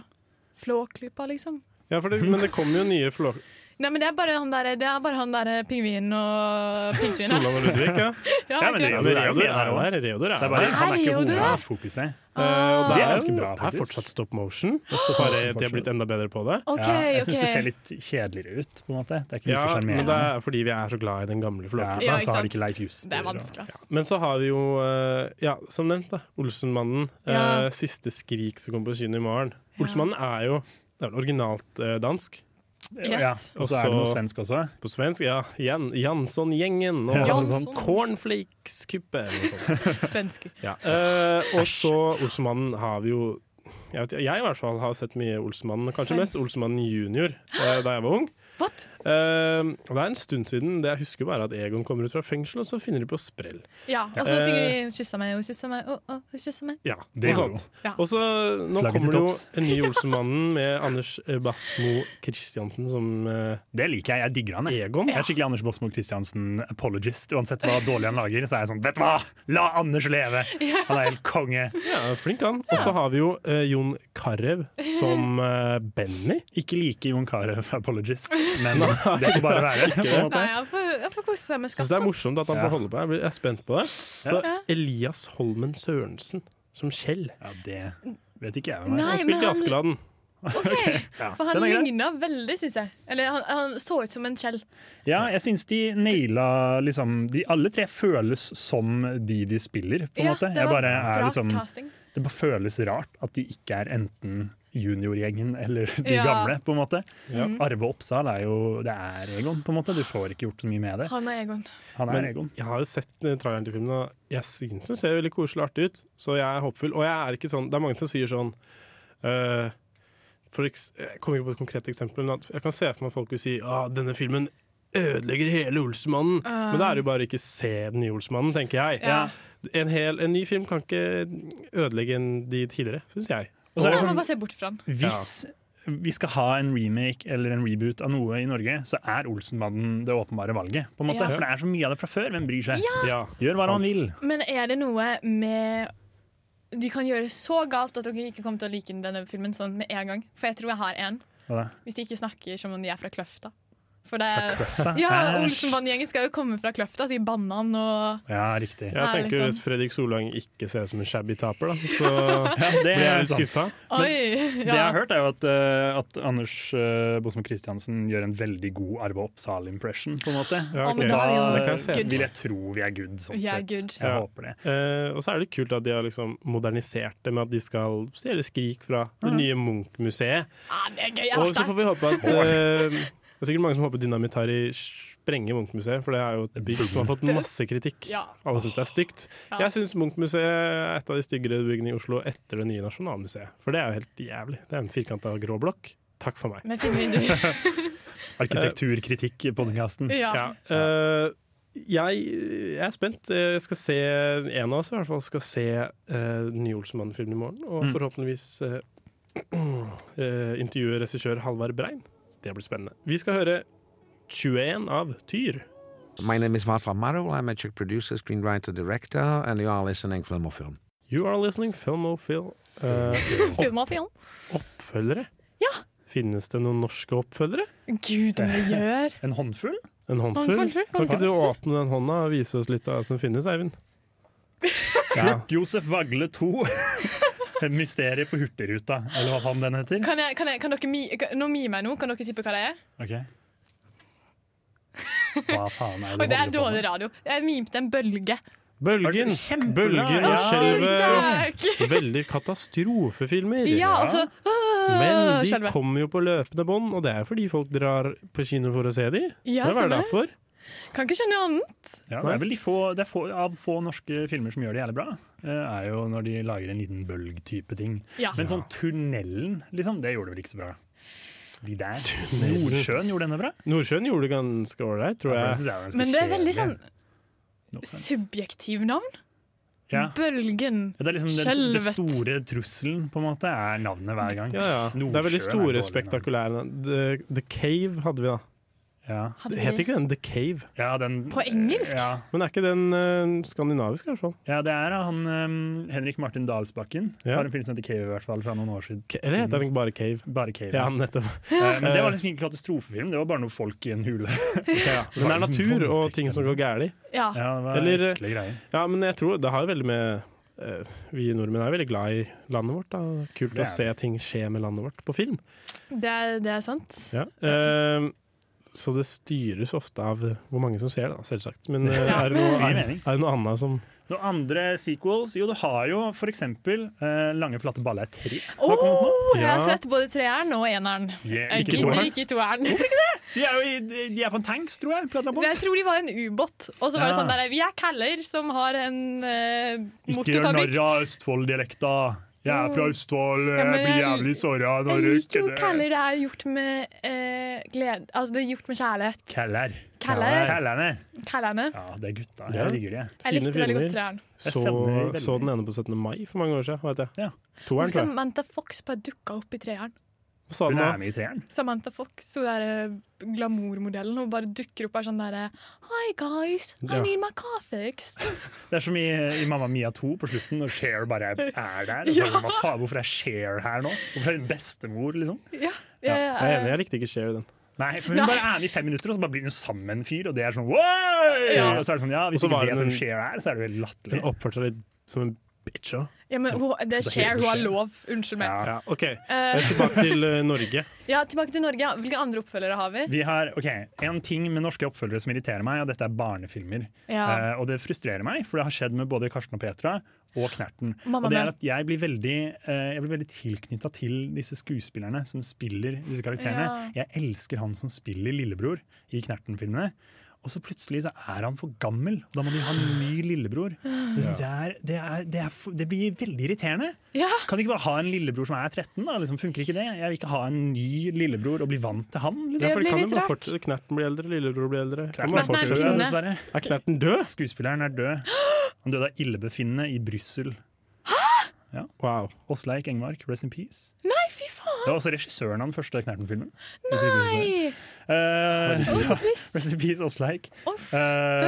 Flåklypa, liksom.
Ja, for det, men det kommer jo nye flå...
Nei, men det er bare han der, det er bare han der eh, pingvinen
<laughs>
og pingvinet.
Solan og Ludvig, <laughs> ja.
Ja, Ja, men det er
Reodor er jo
med der også.
der. Reodor er
Det er bare, han er ikke
Reodor?
hovedfokuset.
Eh, og
De
det
er
er,
ganske bra,
det er
faktisk.
fortsatt stop motion. Bare de har blitt enda bedre på det.
Ok,
ja, jeg syns
ok.
det ser litt kjedeligere ut, på en måte. Det er ikke
Ja,
like
men
sjarmerende.
det er fordi vi er så glad i den gamle
Ja,
flåklypa.
men Ja, så ikke har de sant. ikke Leif Juster
Det er vanskelig, ass.
Men så har vi jo, eh, ja, som nevnt, da, Olsenmannen.
Ja.
eh, Siste skrik som kommer på kino i morgen. Olsenmannen er jo det er vel originalt eh, dansk.
Yes. Ja, og så er det noe svensk også.
På svensk, ja. Jan, Jansson-gjengen og
Ja, noe sånt.
Cornflakes-kuppe eller noe sånt.
Svensker.
Ja. <laughs> Eh, og så Olsenmannen har vi jo jeg, vet, ikke, jeg i hvert fall har sett mye Olsenmannen, kanskje
Selv.
mest Olsenmannen junior eh, da jeg var ung. Eh, og det er en stund siden. Det jeg husker bare at Egon kommer ut fra fengsel, og så finner de på sprell.
Ja, og så
Eh,
synger de 'kyssa meg, og kyssa meg, å, å, kyssa meg'.
ja,
Det
noe
gjorde
sånt.
hun. Ja.
Og så nå
Flagget
kommer
til
det jo
topps.
en ny Olsenmannen med Anders eh, Basmo Christiansen som eh,
Det liker jeg. Jeg digger han. Jeg,
Egon.
jeg er skikkelig Anders Båsmo Christiansen apologist. Uansett hva dårlig han lager, så er jeg sånn Vet du hva! La Anders leve! Han er helt konge.
Ja, flink han. Og så har vi jo eh, Jon Carew som <laughs> eh, Benny.
Ikke like Jon Carew apologist, men det får bare være.
Ikke
På
det.
en måte.
Nei, han får, han får kose seg
Jeg
med
syns det er
skatten.
morsomt at han
Ja.
får holde på. Jeg blir- jeg er spent på det. Så
Ja.
Elias Holmen Sørensen som Kjell.
Ja, det vet ikke jeg
hvem er. Nei,
Han
men
spilte i
han-
Askeladden.
For han ligna veldig, syns jeg. Eller han, han så ut som en Kjell.
Ja, jeg syns de naila liksom de, Alle tre føles som de de spiller, på en
Ja,
måte.
det
Jeg
var
bare er
bra
liksom
casting.
Det bare føles rart at de ikke er enten juniorgjengen eller de
Ja.
gamle, på en måte.
Ja.
Arve Oppsal er jo Det er Egon, på en måte. Du får ikke gjort så mye med det.
Han er Egon.
Han er
Men
Egon.
jeg har jo sett eh, traileren til filmen, og jeg syns den ser veldig koselig og artig ut. Så jeg er håpefull. Og jeg er ikke sånn, det er mange som sier sånn eh, for eks Jeg kommer ikke på et konkret eksempel, men at jeg kan se for meg at folk vil si at denne filmen ødelegger hele Olsemannen.
Ah.
Men da er det jo bare ikke se den nye Olsemannen, tenker jeg.
Ja.
En, hel, en ny film kan ikke ødelegge en, de tidligere, syns jeg.
Og så er det
Jeg må
sånn-
bare se bort fra han.
Hvis vi skal ha en remake eller en reboot av noe i Norge, så er Olsenbanden det åpenbare valget. På en måte.
Ja.
For det er så mye av det fra før. Hvem bryr seg?
sånn,
Ja. Ja,
Gjør hva han vil.
Men er det noe med De kan gjøre så galt at dere ikke kommer til å like denne filmen sånn med en gang. For jeg tror jeg har en.
Hva da?
Hvis de ikke snakker som om de er fra Kløfta. For det er,
Fra Kløfta?
Ja,
Æsj.
Olsenbandgjengen skal jo komme fra Kløfta, så de banner han og
Ja,
Jeg
riktig.
tenker
Ja, liksom.
Hvis Fredrik Solvang ikke ser ut som en shabby taper, da, så
<laughs> Ja, det
blir
er
jeg litt
sant.
skuffa.
Oi!
Det jeg
ja.
har hørt, er jo at, eh, at Anders uh, Bosmo Christiansen gjør en veldig god Arve Oppsal-impression, på en måte.
Ja, ok.
Så
Det kan jeg se
da
for meg.
vil jeg tro vi er good, sånn
Vi er
sett.
good.
Jeg
Ja.
håper det.
Eh, og så er det kult at de har liksom modernisert det med at de skal stjele Skrik fra det nye Munch-museet.
Ah, det er gøy! Jeg har
Og
vært
så
der.
får vi håpe at eh, Det er sikkert mange som håper Dynamitari sprenger Munch-museet, for det er jo et bygg som har fått masse kritikk.
Ja.
Alle syns det er stygt.
Ja.
Jeg syns Munch-museet er et av de styggere byggene i Oslo etter det nye Nasjonalmuseet. For det er jo helt jævlig. Det er en firkanta grå blokk. Takk for meg.
Med fine vinduer.
Arkitekturkritikk i podkasten.
Ja.
Eh, jeg, jeg er spent. Jeg skal se En av oss i hvert fall skal se uh, nye Olsenmannen-filmen i morgen. Og
Mm.
forhåpentligvis <clears throat> eh, uh, intervjue regissør Halvard Brein. Det blir spennende. Vi skal høre 21 av Tyr.
My name is Václav Marou. I'm a Czech producer, screenwriter, director, and you are listening film or film.
You are listening Filmofil. Uh,
<laughs> Film og film.
oppfølgere?
Ja.
Finnes det noen norske oppfølgere?
Gud, om det gjør.
En håndfull?
En håndfull?
Håndfull,
Kan ikke du
håndfull.
åpne den hånda og vise oss litt av hva som finnes, Eivind? Ja.
Josef Vagle <laughs> 2. Mysteriet på Hurtigruta, eller hva faen den heter.
<laughs> Kan, jeg, kan, jeg, kan dere mi, kan, nå gi meg noe? Kan dere tippe hva det er?
Ok. Hva faen er
Oi,
det
det er
du holder på med?
dårlig radio. Jeg mimte en bølge.
Bølgen! Bølgen
Å,
i
tusen
skjelvet. Veldig katastrofefilmer.
Ja, altså åh,
Men de
skjelver.
kommer jo på løpende bånd, og det er jo fordi folk drar på kino for å se de.
Ja,
det var
stemmer det.
derfor.
Kan ikke skjønne annet.
Ja, det er vel de få, det er få, av få norske filmer som gjør det jævlig bra, eh, er jo når de lager en liten bølg-type ting.
Ja.
Men sånn Tunnelen, liksom, det gjorde vel ikke så bra. De der.
Tunnelen.
Nordsjøen gjorde denne bra.
Nordsjøen gjorde det ganske ålreit, tror
Ja, for det synes
jeg.
jeg var ganske
Men det er veldig
kjedelig.
sånn subjektiv navn.
Ja.
Bølgen.
Ja, Det er liksom den, det
Skjelvet.
store trusselen, på en måte, er navnet hver gang.
Ja, ja. Det er veldig store, spektakulære The, The Cave hadde vi, da.
Hadde
Het
vi?
ikke den The Cave?
På engelsk?
Ja.
Men er ikke den eh, skandinavisk, i hvert fall?
Ja, det er han eh, Henrik Martin Dalsbakken.
Ja.
Har en film som heter Cave, i hvert fall, fra noen år siden.
Eller heter den ikke bare Cave?
Bare Cave.
Ja, nettopp.
Eh, Men det var liksom ikke en katastrofefilm, det var bare noen folk i en hule.
<laughs> ja. Den er natur og ting som går
sånn.
gærent.
Ja.
liksom. Ja, det var
Eller, eh,
ekle greier.
ja, men jeg tror det har veldig med eh, Vi nordmenn er veldig glad i landet vårt. Da. Kult
Det er
å se ting skje med landet vårt på film.
Det er, det er sant.
Eh, så det styres ofte av hvor mange som ser det, da, selvsagt. Men eh,
Ja.
er, det noe,
Gir
er,
mening.
er det noe annet som
Noen andre sequels? Jo, du har jo for eksempel eh, Lange flate baller 3.
Oh, jeg
Ja.
har sett både treeren og eneren.
Yeah,
Jeg
ikke
gidder
toeren.
ikke toeren.
De er jo i, de- de er på en tanks, tror jeg. på et eller annet
<laughs>
punkt.
Jeg tror de var en ubåt. Og så var det
Ja.
sånn der Vi er caller som har en eh,
Ikke gjør narr
motorfabrikk.
av Østfold-dialekta. Jeg er fra Østfold,
Ja,
eh, jeg
men
blir
jeg-
jævlig såra
Jeg
når du
liker jo
ikke-
caller. Det er gjort med eh, glede Altså, det er gjort med kjærlighet.
Keller.
Keller.
Kellerne.
Callerne.
Ja, det er gutta.
Ja.
Jeg digger de.
Jeg likte veldig godt treeren.
Jeg
Så,
savner veldig.
så den ene på 17. mai for mange år siden, vet jeg. Toeren, tror jeg.
Samantha Fox bare dukka opp i treeren.
Hva sa
Hun
den da?
er med i treeren.
Samantha Fox, hun der eh, glamourmodellen, hun bare dukker opp og er sånn derre Hi guys, I
Ja.
need my car fixed.
Det er som i, i Mamma Mia 2 på slutten, når Cher bare er der. Og så,
Ja.
Hva faen, hvorfor er Cher her nå? Hvorfor er hun bestemor, liksom?
<laughs> Ja, eh,
Ja,
jeg,
jeg er enig.
Jeg likte ikke Share den.
Nei, for hun
Nei.
bare er med i fem minutter, og så bare blir hun sammen med en fyr, og det er sånn «Wow!»
Ja.
Og så er det sånn, ja, hvis
Og så
ikke
var
vet
hun-
hvem Cher er, så er det veldig latterlig.
Hun oppførte seg litt som en bitch òg.
ja, men hun, det
Det er
skjer,
helt
hun har
skjer.
lov. Unnskyld meg.
Ja, OK. Eh, Tilbake til eh, Norge.
Ja, Tilbake til Norge. ja. Hvilke andre oppfølgere har vi?
Vi har, ok, En ting med norske oppfølgere som irriterer meg, og dette er barnefilmer.
Ja.
Eh, og det frustrerer meg, for det har skjedd med både Karsten og Petra og Knerten.
Mamma
og det
mia.
er at Jeg blir veldig, eh, jeg blir veldig tilknytta til disse skuespillerne som spiller disse karakterene. Jeg elsker han som spiller lillebror i Knerten-filmene. Og så plutselig så er han for gammel, og da må de ha en ny lillebror. Det, synes jeg er, det, er, det, er, for- det blir veldig irriterende. Kan de ikke bare ha en lillebror som er 13? da? Liksom, funker ikke det? Jeg vil ikke ha en ny lillebror og bli vant til han. Liksom.
Ja, for det kan jo bare fortsette. Knerten blir eldre, lillebror blir eldre. Kan
Knerten
bare
er fortsatt
fortsette.
død, dessverre.
Er Knerten død?
Skuespilleren er død. Han døde av illebefinnende i Brussel. Ja. Åsleik Engmark, rest in peace.
Nei, fy
Det
faen!
var også regissøren av den første Knerten-filmen.
Nei! Å, så trist.
Eh, <laughs> Rest in peace, Åsleik.
var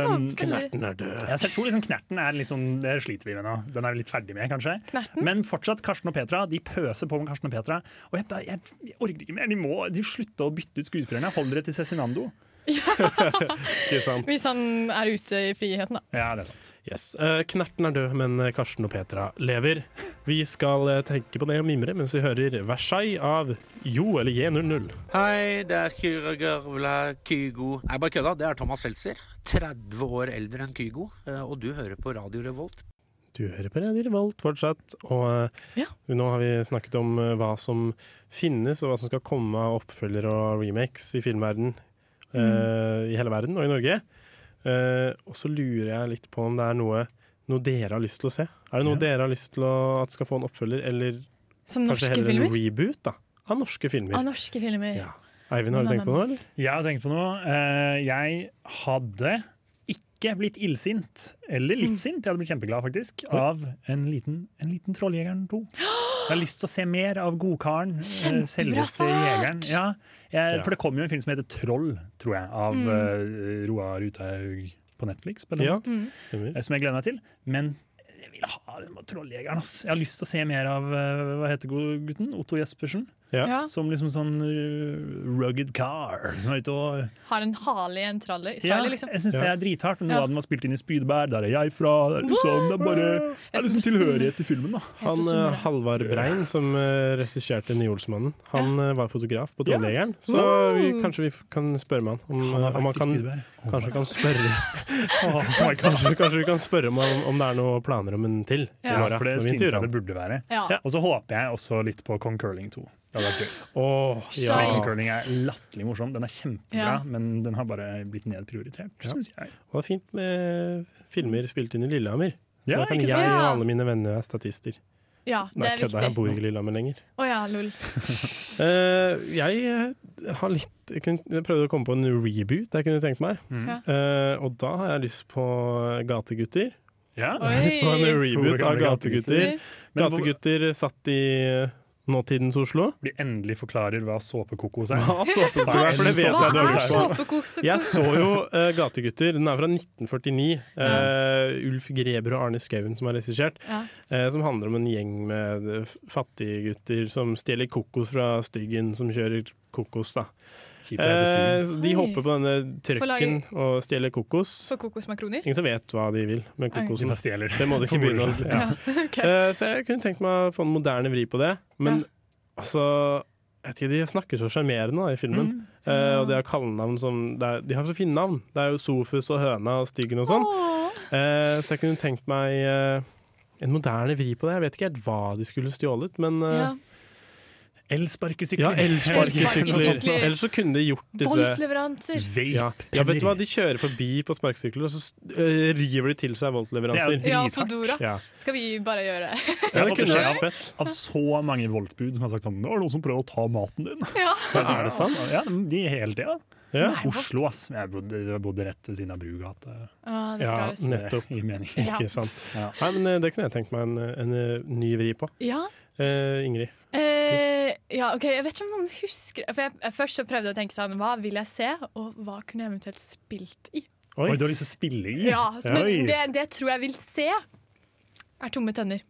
Um,
veldig- Knerten
er død.
Ja, så jeg tror liksom Knerten er litt sånn, det sliter vi med nå. Den er vi litt ferdig med, kanskje. Men fortsatt Karsten og Petra. De pøser på med Karsten og Petra. Og jeg, bare- jeg, jeg orker ikke mer. De må de slutte å bytte ut skuespillerne. Hold dere til Cezinando.
Ikke sant?
Hvis han er ute i friheten, da.
Ja, det er sant.
Yes. Eh, Knerten er død, men eh, Karsten og Petra lever. Vi skal eh, tenke på det og mimre mens vi hører Versailles av Jo eller J00.
Hei, det er Kyragavla Kygo. Nei, bare kødda. Det er Thomas Seltzer. 30 år eldre enn Kygo. eh, Og du hører på Radio Revolt.
Du hører på Radio Revolt fortsatt, og eh, nå har vi snakket om eh, hva som finnes, og hva som skal komme av oppfølgere og remakes i filmverden
Mm.
eh, i hele verden, og i Norge. Eh, og så lurer jeg litt på om det er noe, noe dere har lyst til å se. Er det noe dere har lyst til å, at skal få en oppfølger, eller
Som norske
kanskje heller
filmer?
en reboot da, av norske filmer?
Av norske filmer.
Eivind, har du tenkt på noe, eller?
Jeg har tenkt på noe. Eh, Jeg hadde ikke blitt
Mm.
illsint, eller litt sint, jeg hadde blitt kjempeglad faktisk, av en liten, en liten Trolljegeren 2. Jeg har lyst til å se mer av Godkaren. eh,
Kjempebra
Selveste
svart!
jegeren. Ja, jeg,
Ja.
for det kom jo en film som heter 'Troll', tror jeg, av
Mm.
eh, Roar Uthaug på Netflix. På
Ja,
Mm.
Eh, Som jeg gleder meg til. Men jeg vil ha den med Trolljegeren, ass. Jeg har lyst til å se mer av eh, hva heter god- gutten? Otto Jespersen.
Ja.
Ja.
Som liksom sånn eh, rugged car. Som er ute og
Har en hale i en tralle.
ja,
tralle liksom.
Jeg syns det er drithardt. men Noe
Ja.
av den var spilt inn i Spydberg. Der er jeg fra. Det er liksom, det er bare det er liksom tilhørighet til filmen, da.
Han eh, Halvard Brein, som uh, regisserte Nyolsmannen, han eh, var fotograf på Trolljegeren. Så vi, kanskje vi f- kan spørre med han om, eh, om
vært
han
i
kan,
Spydberg.
kanskje, kan spørre, <laughs>
<laughs> Oh
kanskje, kanskje vi kan spørre om, han- om det er noen planer om en til
Ja.
i morgen.
For det
når vi
synes
intervjuer
jeg det
han.
burde være.
Ja.
Og så håper jeg også litt på Kong Curling 2. Det hadde vært gøy.
Åh,
Fordi
ja.
Kong Curling er latterlig morsom. Den er kjempebra,
Ja.
men den har bare blitt nedprioritert, synes jeg.
Og det er fint med filmer spilt inn i Lillehammer.
Ja,
Da kan
ikke
jeg
sant?
og
Ja.
alle mine venner være statister.
Ja, det
Nei,
er
kødda, jeg bor
viktig.
ikke i Lillehammer lenger.
Å ja, lol.
Eh, jeg eh, har litt jeg, kunne, jeg prøvde å komme på en reboot jeg kunne tenkt meg.
Mm.
Mhm.
Eh, og da har jeg lyst på Gategutter.
Ja.
Jeg har lyst <laughs> på en
Oi.
reboot av
Gode gamle
Gategutter.
Gategutter. Men hvor-
Gategutter satt i eh, nåtidens Oslo.
De endelig forklarer hva såpekokos er.
Hva såpekokos er, for det vet jeg du har lyst på. Jeg så jo eh, Gategutter. Den er fra 1949. Eh, Ulf Greber og Arne Skouen som har regissert.
Ja.
eh, som handler om en gjeng med eh, f- fattige gutter som stjeler kokos fra styggen som kjører kokos. da.
Kjipt å hete Styggen.
Eh, så de
Oi.
hopper på denne
Får
trøkken
lage-
og stjeler kokos.
For kokosmakroner?
Ingen som vet hva de vil med
Oi.
kokosen.
De bare stjeler.
Det må de ikke
For moro
begynne å ja.
<laughs> skyld.
<laughs> Eh, Så jeg kunne tenkt meg å få en moderne vri på det. Men altså jeg vet ikke, De snakker så sjarmerende da, i filmen. Eh, og de har kallenavn som det er, De har så fine navn. Det er jo Sofus og Høna og Styggen og sånn. Eh, så jeg kunne tenkt meg eh, en moderne vri på det. Jeg vet ikke helt hva de skulle stjålet, men eh,
Ja.
Elsparkesykler.
Ja, elsparkesykler.
Elsparkesykler.
Ellers så kunne de gjort disse
Voltleveranser!
ja. ja, vet du hva? De kjører forbi på sparkesykler, og så øh, river de til seg voltleveranser.
Ja, Fodora.
Ja.
Skal vi bare gjøre <laughs> det?
Jeg har
det
fått
kunne
beskjed
vært fett.
Av, av så mange voltbud som har sagt sånn 'Nå er det noen som prøver å ta maten din'.
Ja.
Så jeg
Er det
sånn,
sant?
Ja, de hele tida.
Ja.
Nei,
Oslo, ass. Jeg bodde, jeg bodde rett ved siden av Brugata.
Ah, det
Ja,
forklares.
nettopp.
I mening.
Ja.
Ikke sant. Nei, men eh, Det kunne jeg tenkt meg en, en eh, ny vri på.
Ja.
Eh, Ingrid.
Eh, ja, ok, Jeg vet ikke om noen husker For jeg, jeg Først så prøvde jeg å tenke sånn Hva vil jeg se, og hva kunne jeg eventuelt spilt i?
Oi. du har lyst til å spille i?
Ja, så,
Oi.
men det, det jeg tror jeg vil se, er Tomme tønner.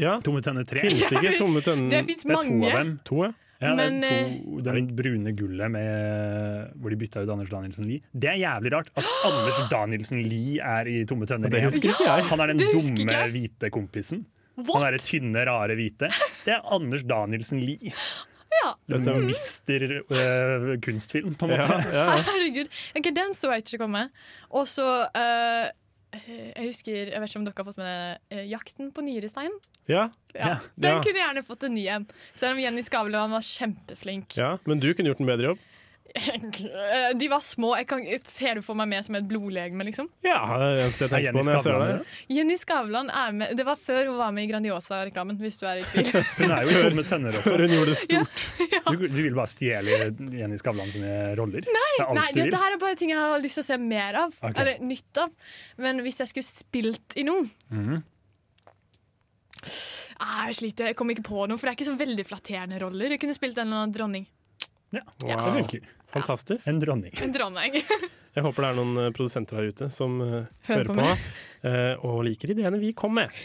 Ja.
Tomme tønner 3.
Finnes det ikke tomme tønner?
Det finnes
Det er to
mange.
av dem.
To, ja.
Ja,
Men, eh,
det er to, den brune gullet med, hvor de bytta ut Anders Danielsen Lie. Det er jævlig rart
<gasps>
at Anders Danielsen Lie er i Tomme tønner.
Det husker ikke
jeg. Han er den
det husker ikke
dumme
jeg.
hvite kompisen.
What?
Han er det tynne, rare hvite. Det er Anders Danielsen Lie.
Ja. Mm.
Dette er mister øh, kunstfilm, på en måte.
Herregud. Ok, Den så jeg ikke komme. Og så eh, Jeg husker Jeg vet ikke om dere har fått med det, eh, 'Jakten på nyrestein'.
Ja.
Ja. Den
Ja.
kunne gjerne fått en ny en, selv om Jenny Skavlan var kjempeflink.
ja. Men du kunne gjort en bedre jobb.
Eh, De var små. Jeg kan, ser du for meg med som et blodlegeme, liksom?
Ja, det er det eneste jeg
Er
tenker
Jenny
på når jeg ser
Skavlan
det.
med?
Jenny Skavlan er med Det var før hun var med i Grandiosa-reklamen, hvis du er i tvil.
Hun er jo i Tomme tønner også.
Før hun gjorde det <laughs> stort.
Du, du vil bare stjele Jenny Skavlan sine roller? det er alt
Nei,
du vil.
dette her er bare ting jeg har lyst til å se mer av.
Ok.
Eller nytt av. Men hvis jeg skulle spilt i noe
Mhm.
ah, Jeg sliter, jeg kom ikke på noe, for det er ikke så veldig flatterende roller. Jeg kunne spilt en eller annen dronning.
Ja,
Wow.
det funker.
Fantastisk.
En dronning.
En dronning.
Jeg håper det er noen eh, produsenter her ute som eh,
Hører
hører
på
på, eh, og liker ideene vi kom
<laughs>
med.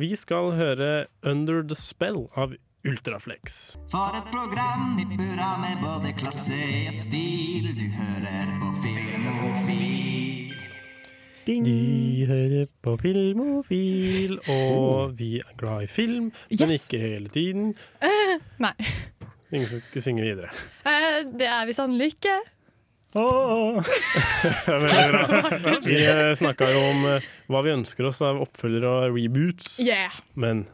Vi skal høre 'Under the Spell' av Ultraflex.
For et program i burra med både klasse og stil. Du hører på Filmofil.
De hører på Filmofil,
Oh.
og vi er glad i film, men
Yes.
ikke hele
<laughs>
tiden.
Eh, nei.
Ingen som skal synge videre.
Eh, det er vi sannelig ikke.
Veldig bra. Vi eh, snakka jo om eh, hva vi ønsker oss av oppfølgere og reboots,
Yeah.
men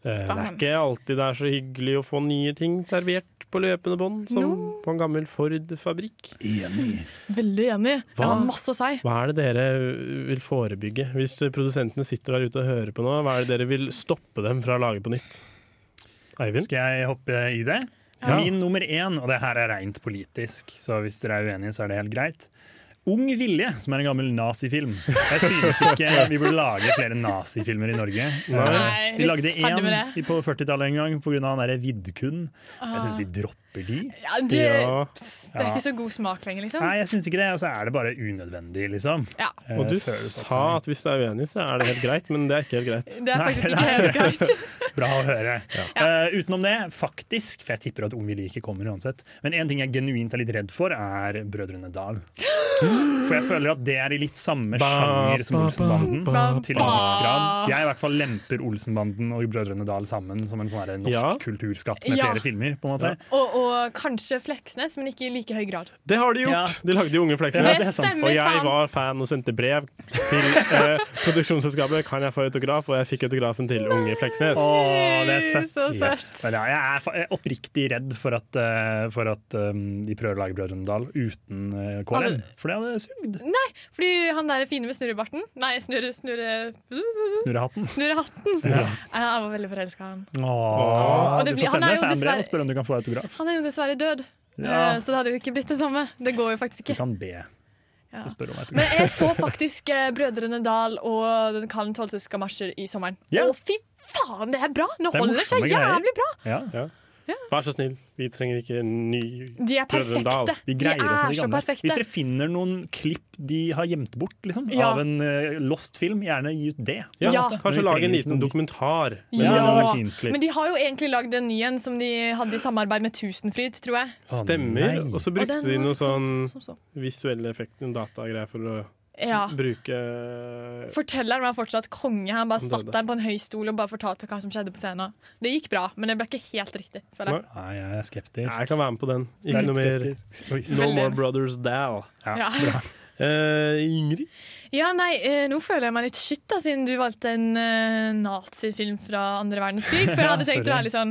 eh, det er
Faen.
ikke alltid det er så hyggelig å få nye ting servert på løpende bånd, som på en gammel Ford-fabrikk.
Veldig enig. Jeg
Hva?
har masse å si.
Hva er det dere eh, vil forebygge? Hvis eh, produsentene sitter der ute og hører på nå, hva er det dere vil stoppe dem fra å lage på nytt? Eivind?
Skal jeg hoppe i det?
Ja.
Min nummer én, og det her er rent politisk, så hvis dere er uenige, så er det helt greit. Ung vilje, som er en gammel nazifilm. Jeg synes ikke vi burde lage flere nazifilmer i Norge.
Nei,
vi lagde
litt ferdig
én
med
på 40-tallet en gang pga. han derre Vidkun. Jeg
Ah.
syns vi dropper de.
Ja, det, pss, det er ikke så god smak lenger, liksom.
Nei, jeg syns ikke det. Og så er det bare unødvendig, liksom.
Ja.
Eh,
Og du
føles
sånn
at-
sa at hvis du er uenig, så er det helt greit, men det er ikke helt greit.
Det er faktisk ikke helt greit.
Bra å høre. Eh, utenom det, faktisk, for jeg tipper at Ung vilje ikke kommer uansett. Men én ting jeg genuint er litt redd for, er
<gasps>
Brødrene Dal. For jeg føler at det er i litt samme
Ba,
sjanger som
ba,
Olsenbanden.
ba, ba,
Til
ba.
en viss grad. Jeg i hvert fall lemper Olsenbanden og Brødrene Dal sammen som en sånn her norsk
Ja.
kulturskatt med
Ja.
flere filmer. på en måte.
Og, og kanskje Fleksnes, men ikke i like høy grad.
Det har de gjort! De lagde jo Unge Fleksnes.
Ja, det er sant.
og jeg
Stemmer,
var fan og sendte brev til eh, produksjonsselskapet. Kan jeg få autograf? Og jeg fikk autografen til Unge Fleksnes.
Åh, det er søtt.
Så søtt.
Yes. Men ja, jeg er fa- jeg er oppriktig redd for at, eh, for at um, de prøver å lage Brødrene Dal uten eh, KLM.
Alle-
For det hadde sugd.
Nei, fordi han der fine med snurrebarten Nei, snurre... Snurre...
Snurrehatten.
Snurrehatten.
Snurrehatten.
Ja, Jeg var veldig forelska i han.
Åh,
Og det
du
blir-
får
han er
sende
jo
en fanbrev
dessverre-
og spørre om du kan få autograf.
Han er jo dessverre død,
Ja.
eh, så det hadde jo ikke blitt det samme. Det går jo faktisk
Du
ikke.
kan be.
Ja.
og spørre om autograf.
Men jeg så faktisk eh, Brødrene Dal og den Karl 12.s gamasjer i sommeren.
Ja.
Å, fy faen, det er bra! Nå
Det er
holder det
morsomme
seg
greier.
jævlig bra!
Ja. Vær så snill, vi trenger ikke en ny
De er
Brødrene Dal.
perfekte.
De greier
De
å få
er
de
så
gamle.
perfekte.
Hvis dere finner noen klipp de har gjemt bort liksom,
Ja.
av en eh, lost film, gjerne gi ut det.
Ja,
Ja.
Men vi
Kanskje lage en
trenger ikke
liten dokumentar.
Ja.
Men det hadde vært fint.
Men de har jo egentlig lagd en ny en som de hadde i samarbeid med Tusenfryd, tror jeg.
Stemmer. Og så brukte
Og den
de
var
noe
liksom
sånn
som så.
visuelle effekter, noen datagreier, for å
Ja.
bruke
Fortelleren var fortsatt konge. Han bare
Han
satt
døde.
der på en høy stol og bare fortalte hva som skjedde på scenen. Det gikk bra, men det ble ikke helt riktig. Føler jeg.
Nei, jeg er skeptisk.
Nei, jeg kan være med på den. Ikke
Sterkt
noe mer
skeptisk. Oi.
No
Veldig.
More Brothers Dal.
Ja. bra.
Eh, Ingrid?
<laughs> Ja, nei, eh, nå føler jeg meg litt shit, da, siden du valgte en eh, nazifilm fra andre verdenskrig. For jeg hadde tenkt å
Sorry.
være litt sånn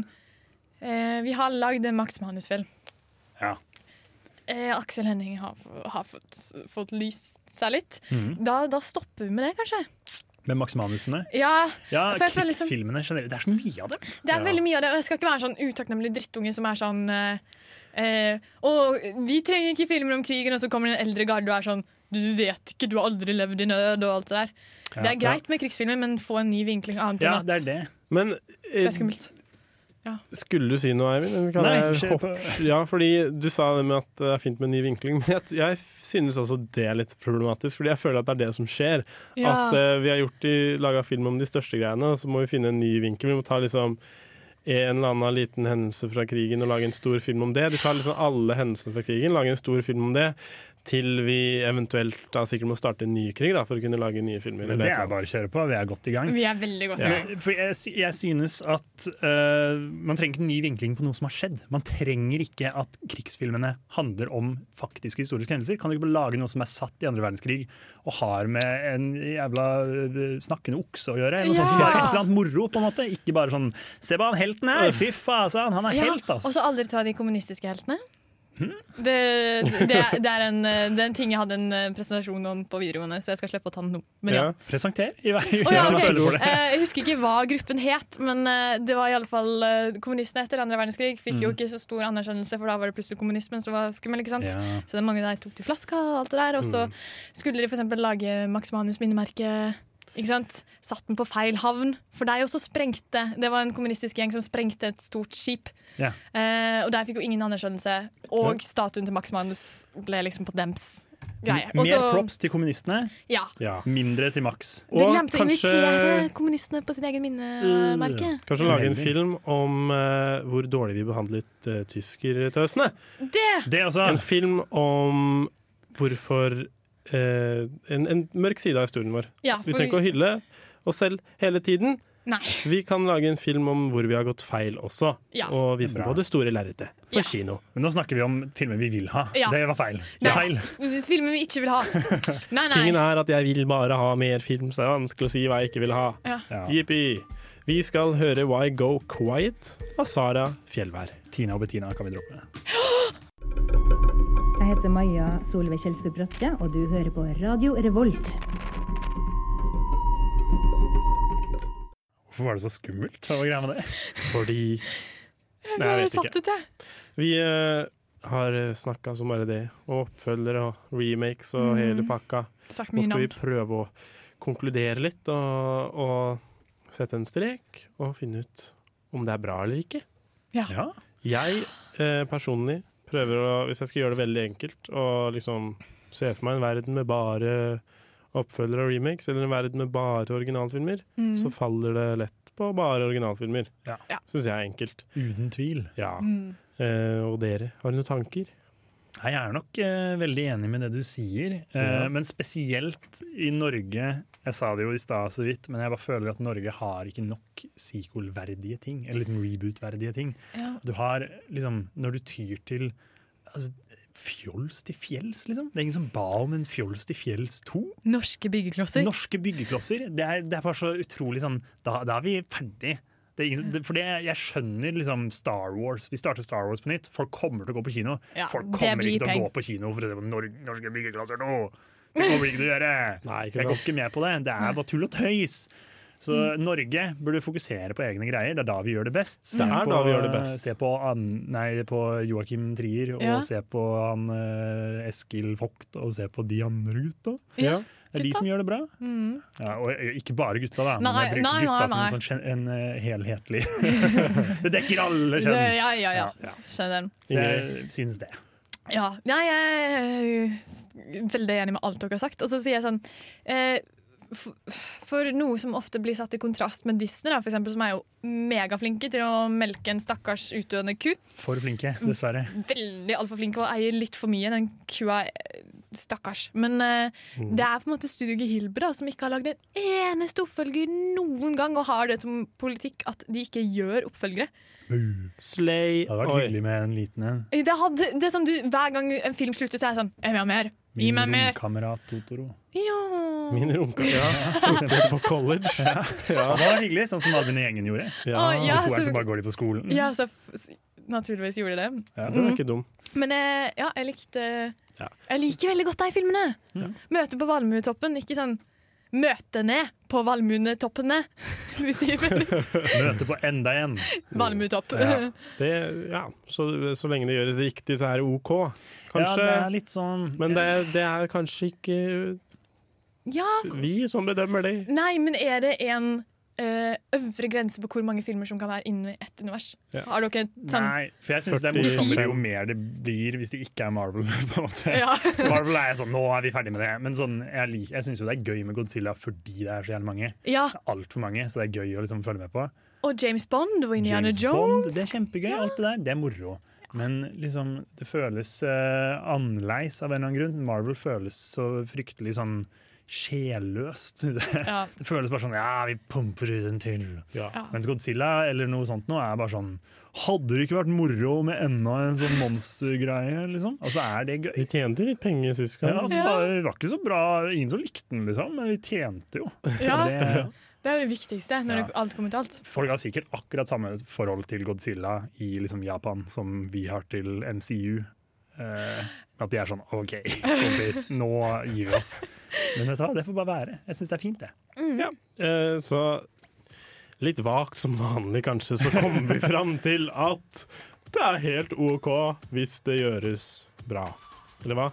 eh, Vi har lagd en Max Manus-film.
Ja.
Eh, Aksel Henning har, f- har fått, fått lyst seg litt.
Mhm.
Da, da stopper vi med det, kanskje.
Med Max Manusene.
Ja,
Ja,
for jeg føler liksom-
krigsfilmene generelt. Det er så mye av dem.
Det er veldig mye av det, og jeg skal ikke være en sånn utakknemlig drittunge som er sånn eh, eh, Og vi trenger ikke filmer om krigen, og så kommer det en eldre garde og er sånn Du vet ikke, du har aldri levd i nød, og alt det der.
Ja,
det er greit med krigsfilmer, men få en ny vinkling annet enn at
Men eh,
det er skummelt.
skulle du si noe, Eivind? Eller Kan
Nei,
jeg
kjør
hoppe? Ja, fordi du sa det med at det er fint med ny vinkling, <laughs> men jeg, jeg synes også det er litt problematisk, fordi jeg føler at det er det som skjer.
Ja.
At eh, vi har gjort de, laga film om de største greiene, og så må vi finne en ny vinkel. Vi må ta liksom en eller annen liten hendelse fra krigen og lage en stor film om det. De tar liksom alle hendelsene fra krigen, lager en stor film om det, til vi eventuelt da sikkert må starte en ny krig da, for å kunne lage nye filmer.
Men det er bare å kjøre på. Vi er godt i gang.
Vi er veldig godt i
Ja.
gang.
For jeg, sy- jeg synes at eh, man trenger ikke ny vinkling på noe som har skjedd. Man trenger ikke at krigsfilmene handler om faktiske historiske hendelser. Kan du ikke bare lage noe som er satt i andre verdenskrig og har med en jævla eh, snakkende okse å gjøre? Eller noe sånt.
Ja.
Bare et eller annet moro, på en måte. Ikke bare sånn Se på han helten her! Fy faen, han er
Ja,
helt, ass!
Og så aldri ta de kommunistiske heltene. Det, det, er- det, er en, eh, det er en ting jeg hadde en eh, presentasjon om på videregående, så jeg skal slippe å ta den nå. Men ja.
Presenter i vei.
Å
<laughs>
ja,
hvis du
ok.
føler for det.
Eh, Jeg husker ikke hva gruppen het, men eh, det var i alle fall eh, kommunistene etter andre verdenskrig. Fikk jo
Mm.
ikke så stor anerkjennelse, for da var det plutselig kommunismen som var skummel. ikke sant?
Ja.
Så det er mange der tok til flaska og alt det der. Og så
Mm.
skulle de f.eks. lage Max Manus minnemerke. Ikke sant? Satt den på feil havn. For deg også sprengte Det var en kommunistisk gjeng som sprengte et stort skip.
Ja.
Eh, og der fikk jo ingen anerkjennelse.
Ja.
Og statuen til Max Manus ble liksom på dems greie. Og
Mer
så-
props til kommunistene,
Ja.
mindre til Max.
De glemte å invitere kommunistene på sitt eget minnemerke.
Kanskje lage en film om eh, hvor dårlig vi behandlet uh, tyskertøsene.
Mm. Det!
Ah.
En film om hvorfor eh, en, en mørk side av historien vår.
Ja,
Vi
for-
trenger ikke å hylle oss selv hele tiden.
Nei.
Vi kan lage en film om hvor vi har gått feil også,
Ja.
og vise den på det store lerretet på
Ja.
kino.
Men nå snakker vi om filmer vi vil ha.
Ja.
Det var feil.
Ja. Filmer vi ikke vil
<laughs>
ha. Nei, nei.
Tingen er at jeg vil bare ha mer film, så det er vanskelig å si hva jeg ikke vil ha.
Ja.
Ja.
Jippi. Vi skal høre Why Go Quiet av Sara Fjellvær.
Tina og Bettina kan vi droppe.
Jeg heter Maja Solveig Kjelsrud Bratte, og du hører på Radio Revolt.
Hvorfor var det så skummelt? Hva var greia med det?
Fordi
Jeg vet ikke. Satt ut, jeg.
Vi eh, har snakka som bare det, og oppfølgere og remakes og
Mm.
hele pakka.
Sagt
Nå
mye
skal vi
navn.
prøve å konkludere litt og, og sette en strek og finne ut om det er bra eller ikke.
Ja.
Jeg eh, personlig prøver å, hvis jeg skal gjøre det veldig enkelt, og liksom se for meg en verden med bare oppfølgere og remakes, eller en verden med bare originalfilmer,
Mm.
så faller det lett på bare originalfilmer.
Ja.
Syns jeg er enkelt.
Uten tvil.
Ja.
Mm.
Eh, og dere, har dere noen tanker?
Nei, Jeg er nok eh, veldig enig med det du sier, eh,
Ja.
men spesielt i Norge. Jeg sa det jo i stad så vidt, men jeg bare føler at Norge har ikke nok sequel-verdige ting. Eller liksom reboot-verdige ting.
Ja.
Du har liksom, Når du tyr til altså, fjols til fjells, liksom. Det er ingen som ba om en fjols til fjells 2.
Norske byggeklosser.
Norske byggeklosser. Det er, det er bare så utrolig sånn Da, da er vi ferdig. Det er ingen, det, for det, jeg skjønner liksom Star Wars. Vi starter Star Wars på nytt. Folk kommer til å gå på kino.
Ja,
Folk
det
kommer
blir
ikke til å
peng.
gå på kino for å se på Nor norske byggeklasser nå! Det kommer de ikke til å
<laughs>
gjøre! jeg går ikke med på det. Det er bare tull og tøys. Så
Mm.
Norge burde fokusere på egne greier. Det er da vi gjør det best.
Det er da vi gjør det best.
Se på, an, nei, på Joakim Trier, og
Ja.
se på han, eh, Eskil Vogt, og se på de andre gutta.
Ja.
Det er de som gjør det bra.
Mm.
Ja, og eh, ikke bare gutta, da. Men
Nei,
jeg bruker
nei,
gutta
nei,
som
nei.
en, sånn, gen- en eh,
<laughs>
helhetlig <laughs> Det dekker alle
Det-
kjønn!
Ja, ja, ja. Skjønner den.
Så Jeg synes det.
Ja, Nei, jeg er veldig enig med alt dere har sagt. Og så sier jeg sånn eh, for, for noe som ofte blir satt i kontrast med Disney, da, for eksempel, som er jo megaflinke til å melke en stakkars utdøende ku.
For flinke, dessverre.
Veldig altfor flinke og eier litt for mye. Den kua eh, Stakkars. Men eh,
Mm.
det er på en måte Studio Hilbe da, som ikke har lagd en eneste oppfølger noen gang, og har det som politikk at de ikke gjør oppfølgere.
Slay.
Det hadde vært hyggelig med en liten en.
Det hadde, det er sånn du, Hver gang en film slutter, så er jeg sånn Jeg vil ha mer. Gi meg
Min
mer.
romkamerat Totoro.
Ja.
Min runka, ja. Tok dere på
<laughs>
college? Ja.
Det var hyggelig, sånn som Albin i gjengen gjorde.
Ja. Å, ja,
og toeren
så-
så bare går de på skolen.
ja, så f- s- naturligvis gjorde de det.
Ja,
Den er ikke dum.
Men eh, ja, jeg likte Jeg liker veldig godt de filmene. Møte på valmuetoppen, ikke sånn Møte ned på valmuetoppene, <laughs> hvis de Mm.
Møte på enda en.
Valmuetopp.
Ja. Det, ja. Så, så lenge det gjøres riktig, så er det OK, kanskje.
Ja, det er litt sånn
Men det, det er kanskje ikke
<laughs> Ja,
vi som bedømmer det.
nei, men er det en eh, øvre grense på hvor mange filmer som kan være inni ett univers?
Ja.
Har dere et sånn
Nei, for jeg syns det er
40.
morsommere jo mer det blir hvis det ikke er Marvel. <laughs> på en måte.
Ja.
Marvel er sånn, nå er vi ferdig med det. Men sånn, jeg, lik- jeg syns jo det er gøy med Godzilla fordi det er så jævlig mange.
Ja,
Altfor mange, så det er gøy å liksom følge med på.
og James Bond og Indiana
James Bond,
Jones.
det er kjempegøy. Alt det der, det er moro. Men liksom, det føles uh, annerledes av en eller annen grunn. Marvel føles så fryktelig sånn sjelløst, syns jeg.
Ja.
Det føles bare sånn ja, vi pumper ut en til.
Ja.
Mens Godzilla eller noe sånt nå er bare sånn Hadde det ikke vært moro med enda en sånn monstergreie, liksom? Og så er det gøy.
Vi tjente litt penger sist
Ja,
gang.
faen, det var ikke så bra. Ingen som likte den, liksom, men vi tjente jo.
Ja.
Og <laughs> det,
Det er jo det viktigste når det- alt kommer til alt.
Folk har sikkert akkurat samme forhold til Godzilla i liksom Japan som vi har til MCU. Eh, at de er sånn OK, kompis, nå gir vi oss. Men vet du hva, det får bare være. Jeg syns det er fint, det.
Ja. Eh, så litt vagt som vanlig, kanskje, så kommer vi fram til at det er helt OK hvis det gjøres bra. Eller hva?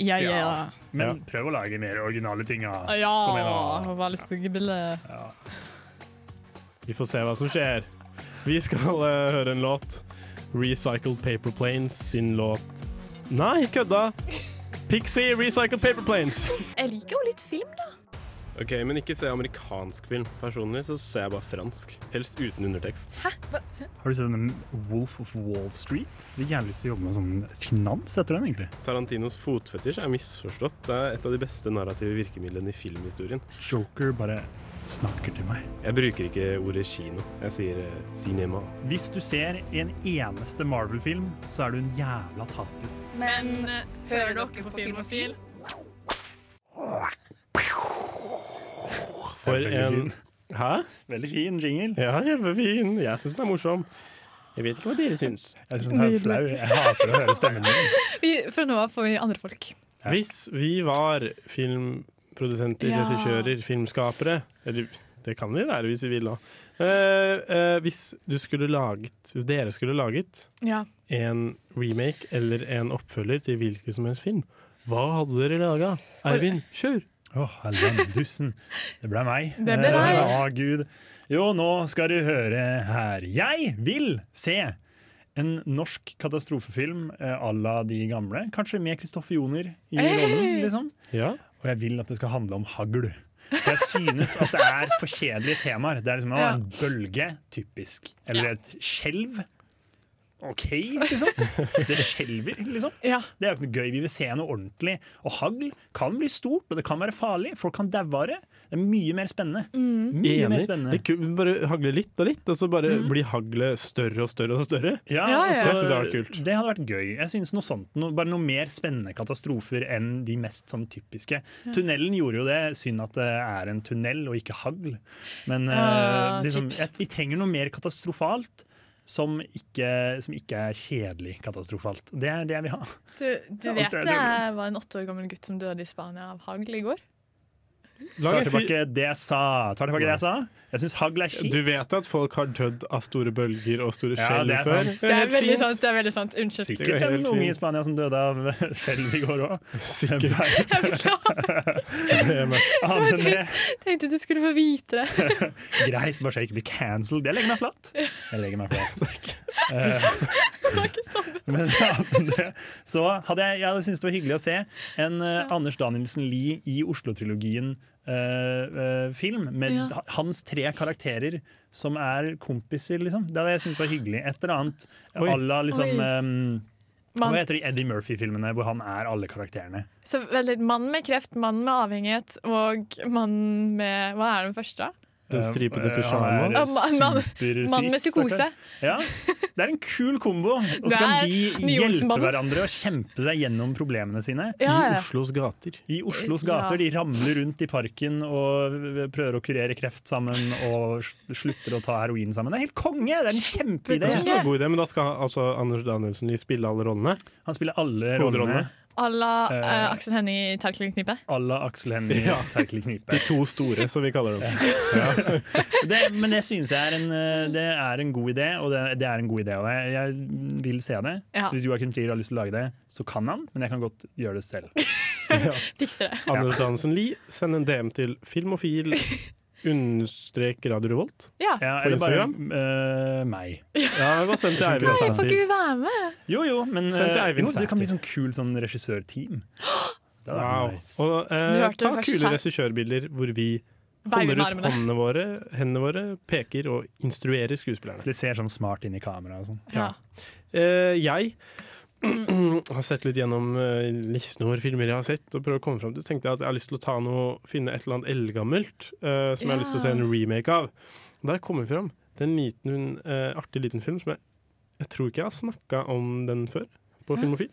Ja, ja, ja.
Men prøv å lage mer originale ting. da. Kom igjen, da.
Ja, veldig stygge bilder.
Vi får se hva som skjer. Vi skal eh, høre en låt. Recycled Paper Planes sin låt Nei, kødda! Pixie Recycled Paper Planes.
Jeg liker jo litt film, da.
OK, men ikke se amerikansk film. Personlig så ser jeg bare fransk. Helst uten undertekst.
Hæ? Hva?
Har du sett den Wolf of Wall Street? Jeg har gjerne lyst til å jobbe med sånn finans etter den, egentlig.
Tarantinos fotfetisj er misforstått. Det er et av de beste narrative virkemidlene i filmhistorien.
Joker bare snakker til meg.
Jeg bruker ikke ordet kino. Jeg sier eh, cinema.
Hvis du ser en eneste Marvel-film, så er du en jævla taper.
Men eh, hører dere på Filmofil?
For
Det er veldig
en Hæ?
Veldig fin jingle.
Ja, kjempefin. Jeg syns den er morsom. Jeg vet ikke hva dere syns.
Jeg syns den er flau. Jeg hater å høre stemmen din.
Fra nå av får vi andre folk.
Hvis vi var filmprodusenter,
Ja.
regissører, filmskapere Eller Det kan vi være hvis vi vil da. Eh, eh, hvis du skulle laget, hvis dere skulle laget
Ja.
en remake eller en oppfølger til hvilken som helst film, hva hadde dere laga? Eivind, kjør!
Å, hellandussen. Det ble meg.
Det ble deg.
Eh, Å, Gud. Jo, nå skal du høre her. Jeg vil se en norsk katastrofefilm eh, à la de gamle. Kanskje med Kristoffer Joner i
Hey!
rollen, liksom. Og jeg vil at det skal handle om hagl. For jeg synes at det er for kjedelige temaer. Det er liksom å,
Ja.
en bølge, typisk. Eller et skjelv. OK, liksom. Det skjelver, liksom. Det er jo ikke noe gøy. Vi vil se noe ordentlig. Og hagl kan bli stort, og det kan være farlig. Folk kan daue av det. Det er mye mer spennende. Mye
Enig.
mer spennende.
Det er kult, bare hagle litt og litt, og så bare
Mm.
blir haglet større og større og større.
Ja,
Så
altså,
jeg synes det var kult.
det hadde vært gøy. Jeg synes noe sånt, noe, Bare noe mer spennende katastrofer enn de mest sånn typiske.
Ja.
Tunnelen gjorde jo det. Synd at det er en tunnel og ikke hagl. Men
Ja,
eh, liksom,
kjipt.
jeg, vi trenger noe mer katastrofalt som ikke, som ikke er kjedelig katastrofalt. Det er det jeg vil ha.
Du, du
Ja,
vet det,
det- det-
var en åtte år gammel gutt som døde i Spania av hagl i går?
Tar
en fyr-
tilbake det jeg sa. Tar tilbake det jeg sa. Jeg syns hagl er kjipt.
Du vet at folk har dødd av store bølger og store
Ja,
skjell
det er
før?
sant.
Det er
helt
veldig
fint.
sant. det er veldig sant. Unnskyld. <laughs>
Sikkert en unge i Spania som døde av <laughs> skjelv i går òg. Annet enn det.
Jeg tenkte du skulle få vite det.
Greit, bare så jeg ikke blir cancelled. Jeg legger meg flat. Jeg legger meg flat. Eh, Men annet enn det, så hadde jeg, jeg hadde syntes det var hyggelig å se en eh, Anders Danielsen Lie i Oslo-trilogien eh, eh, film med
Ja.
ha- hans tre karakterer som er kompiser, liksom. Det hadde jeg syntes var hyggelig. Et eller annet
Oi.
à la liksom
Oi.
ehm,
Man-
Hva heter de Eddie Murphy-filmene hvor han er alle karakterene?
Så vent litt. Mann med kreft, mann med avhengighet og mann med Hva er den første?
Den stripete
Eh,
pyjamaen.
han er
Ja, mann- mann-
supersyk,
mann med psykose.
stakkar. Ja, det er en kul kombo. Og
Det
så kan
er
de
nye
hjelpe
Olsenbanden.
hverandre og kjempe seg gjennom problemene sine.
Ja, ja. I
Oslos gater.
I Oslos gater. De ramler rundt i parken og prøver å kurere kreft sammen og slutter å ta heroin sammen. Det er helt konge! Det er en
Jeg synes det
kjempeidé.
var en god idé, men da skal altså, Anders Danielsen Lie spille alle rollene?
Han spiller alle
rollene.
À la
Eh.
eh, Aksel Hennie i Terkelknippet?
À la Aksel Hennie
Ja.
ja. Terkel Knipe.
De to store, som vi kaller <laughs> dem.
Det, men det synes jeg er en, eh, det er en god idé, og det, det er en god idé. Og jeg, jeg vil se det.
Ja.
Så hvis Joakim Trier har lyst til å lage det, så kan han, men jeg kan godt gjøre det selv.
Fikser det.
Anders Danielsen Lie, send en DM til filmofil understrek Radio Revolt.
Ja.
På
eller bare
Instagram.
eh, meg.
Ja, det var sendt til Eivind altså.
Nei, får ikke
Sæther.
vi være med?
Jo, jo, men
Send til
eh,
Eivind
jo, det
Sæther.
kan bli sånn kul sånn regissørteam. Det hadde vært
Wow.
nice.
Og, eh,
Du hørte det
ta
først
kule
her.
regissørbilder hvor vi
Veiver
holder
med
ut
armene.
håndene våre, hendene våre, peker og instruerer skuespillerne.
De ser sånn smart inn i kameraet og sånn.
Ja.
Eh, jeg <clears throat> har sett litt gjennom eh, listen over filmer jeg har sett, og prøvd å komme frem til tenkte jeg at jeg har lyst til å ta noe, finne et eller annet eldgammelt eh, som jeg har lyst til å se en
Ja.
remake av. Og Der kom jeg fram til en liten, eh, artig liten film som jeg, jeg tror ikke jeg har snakka om den før, på
Ja.
Filmofil.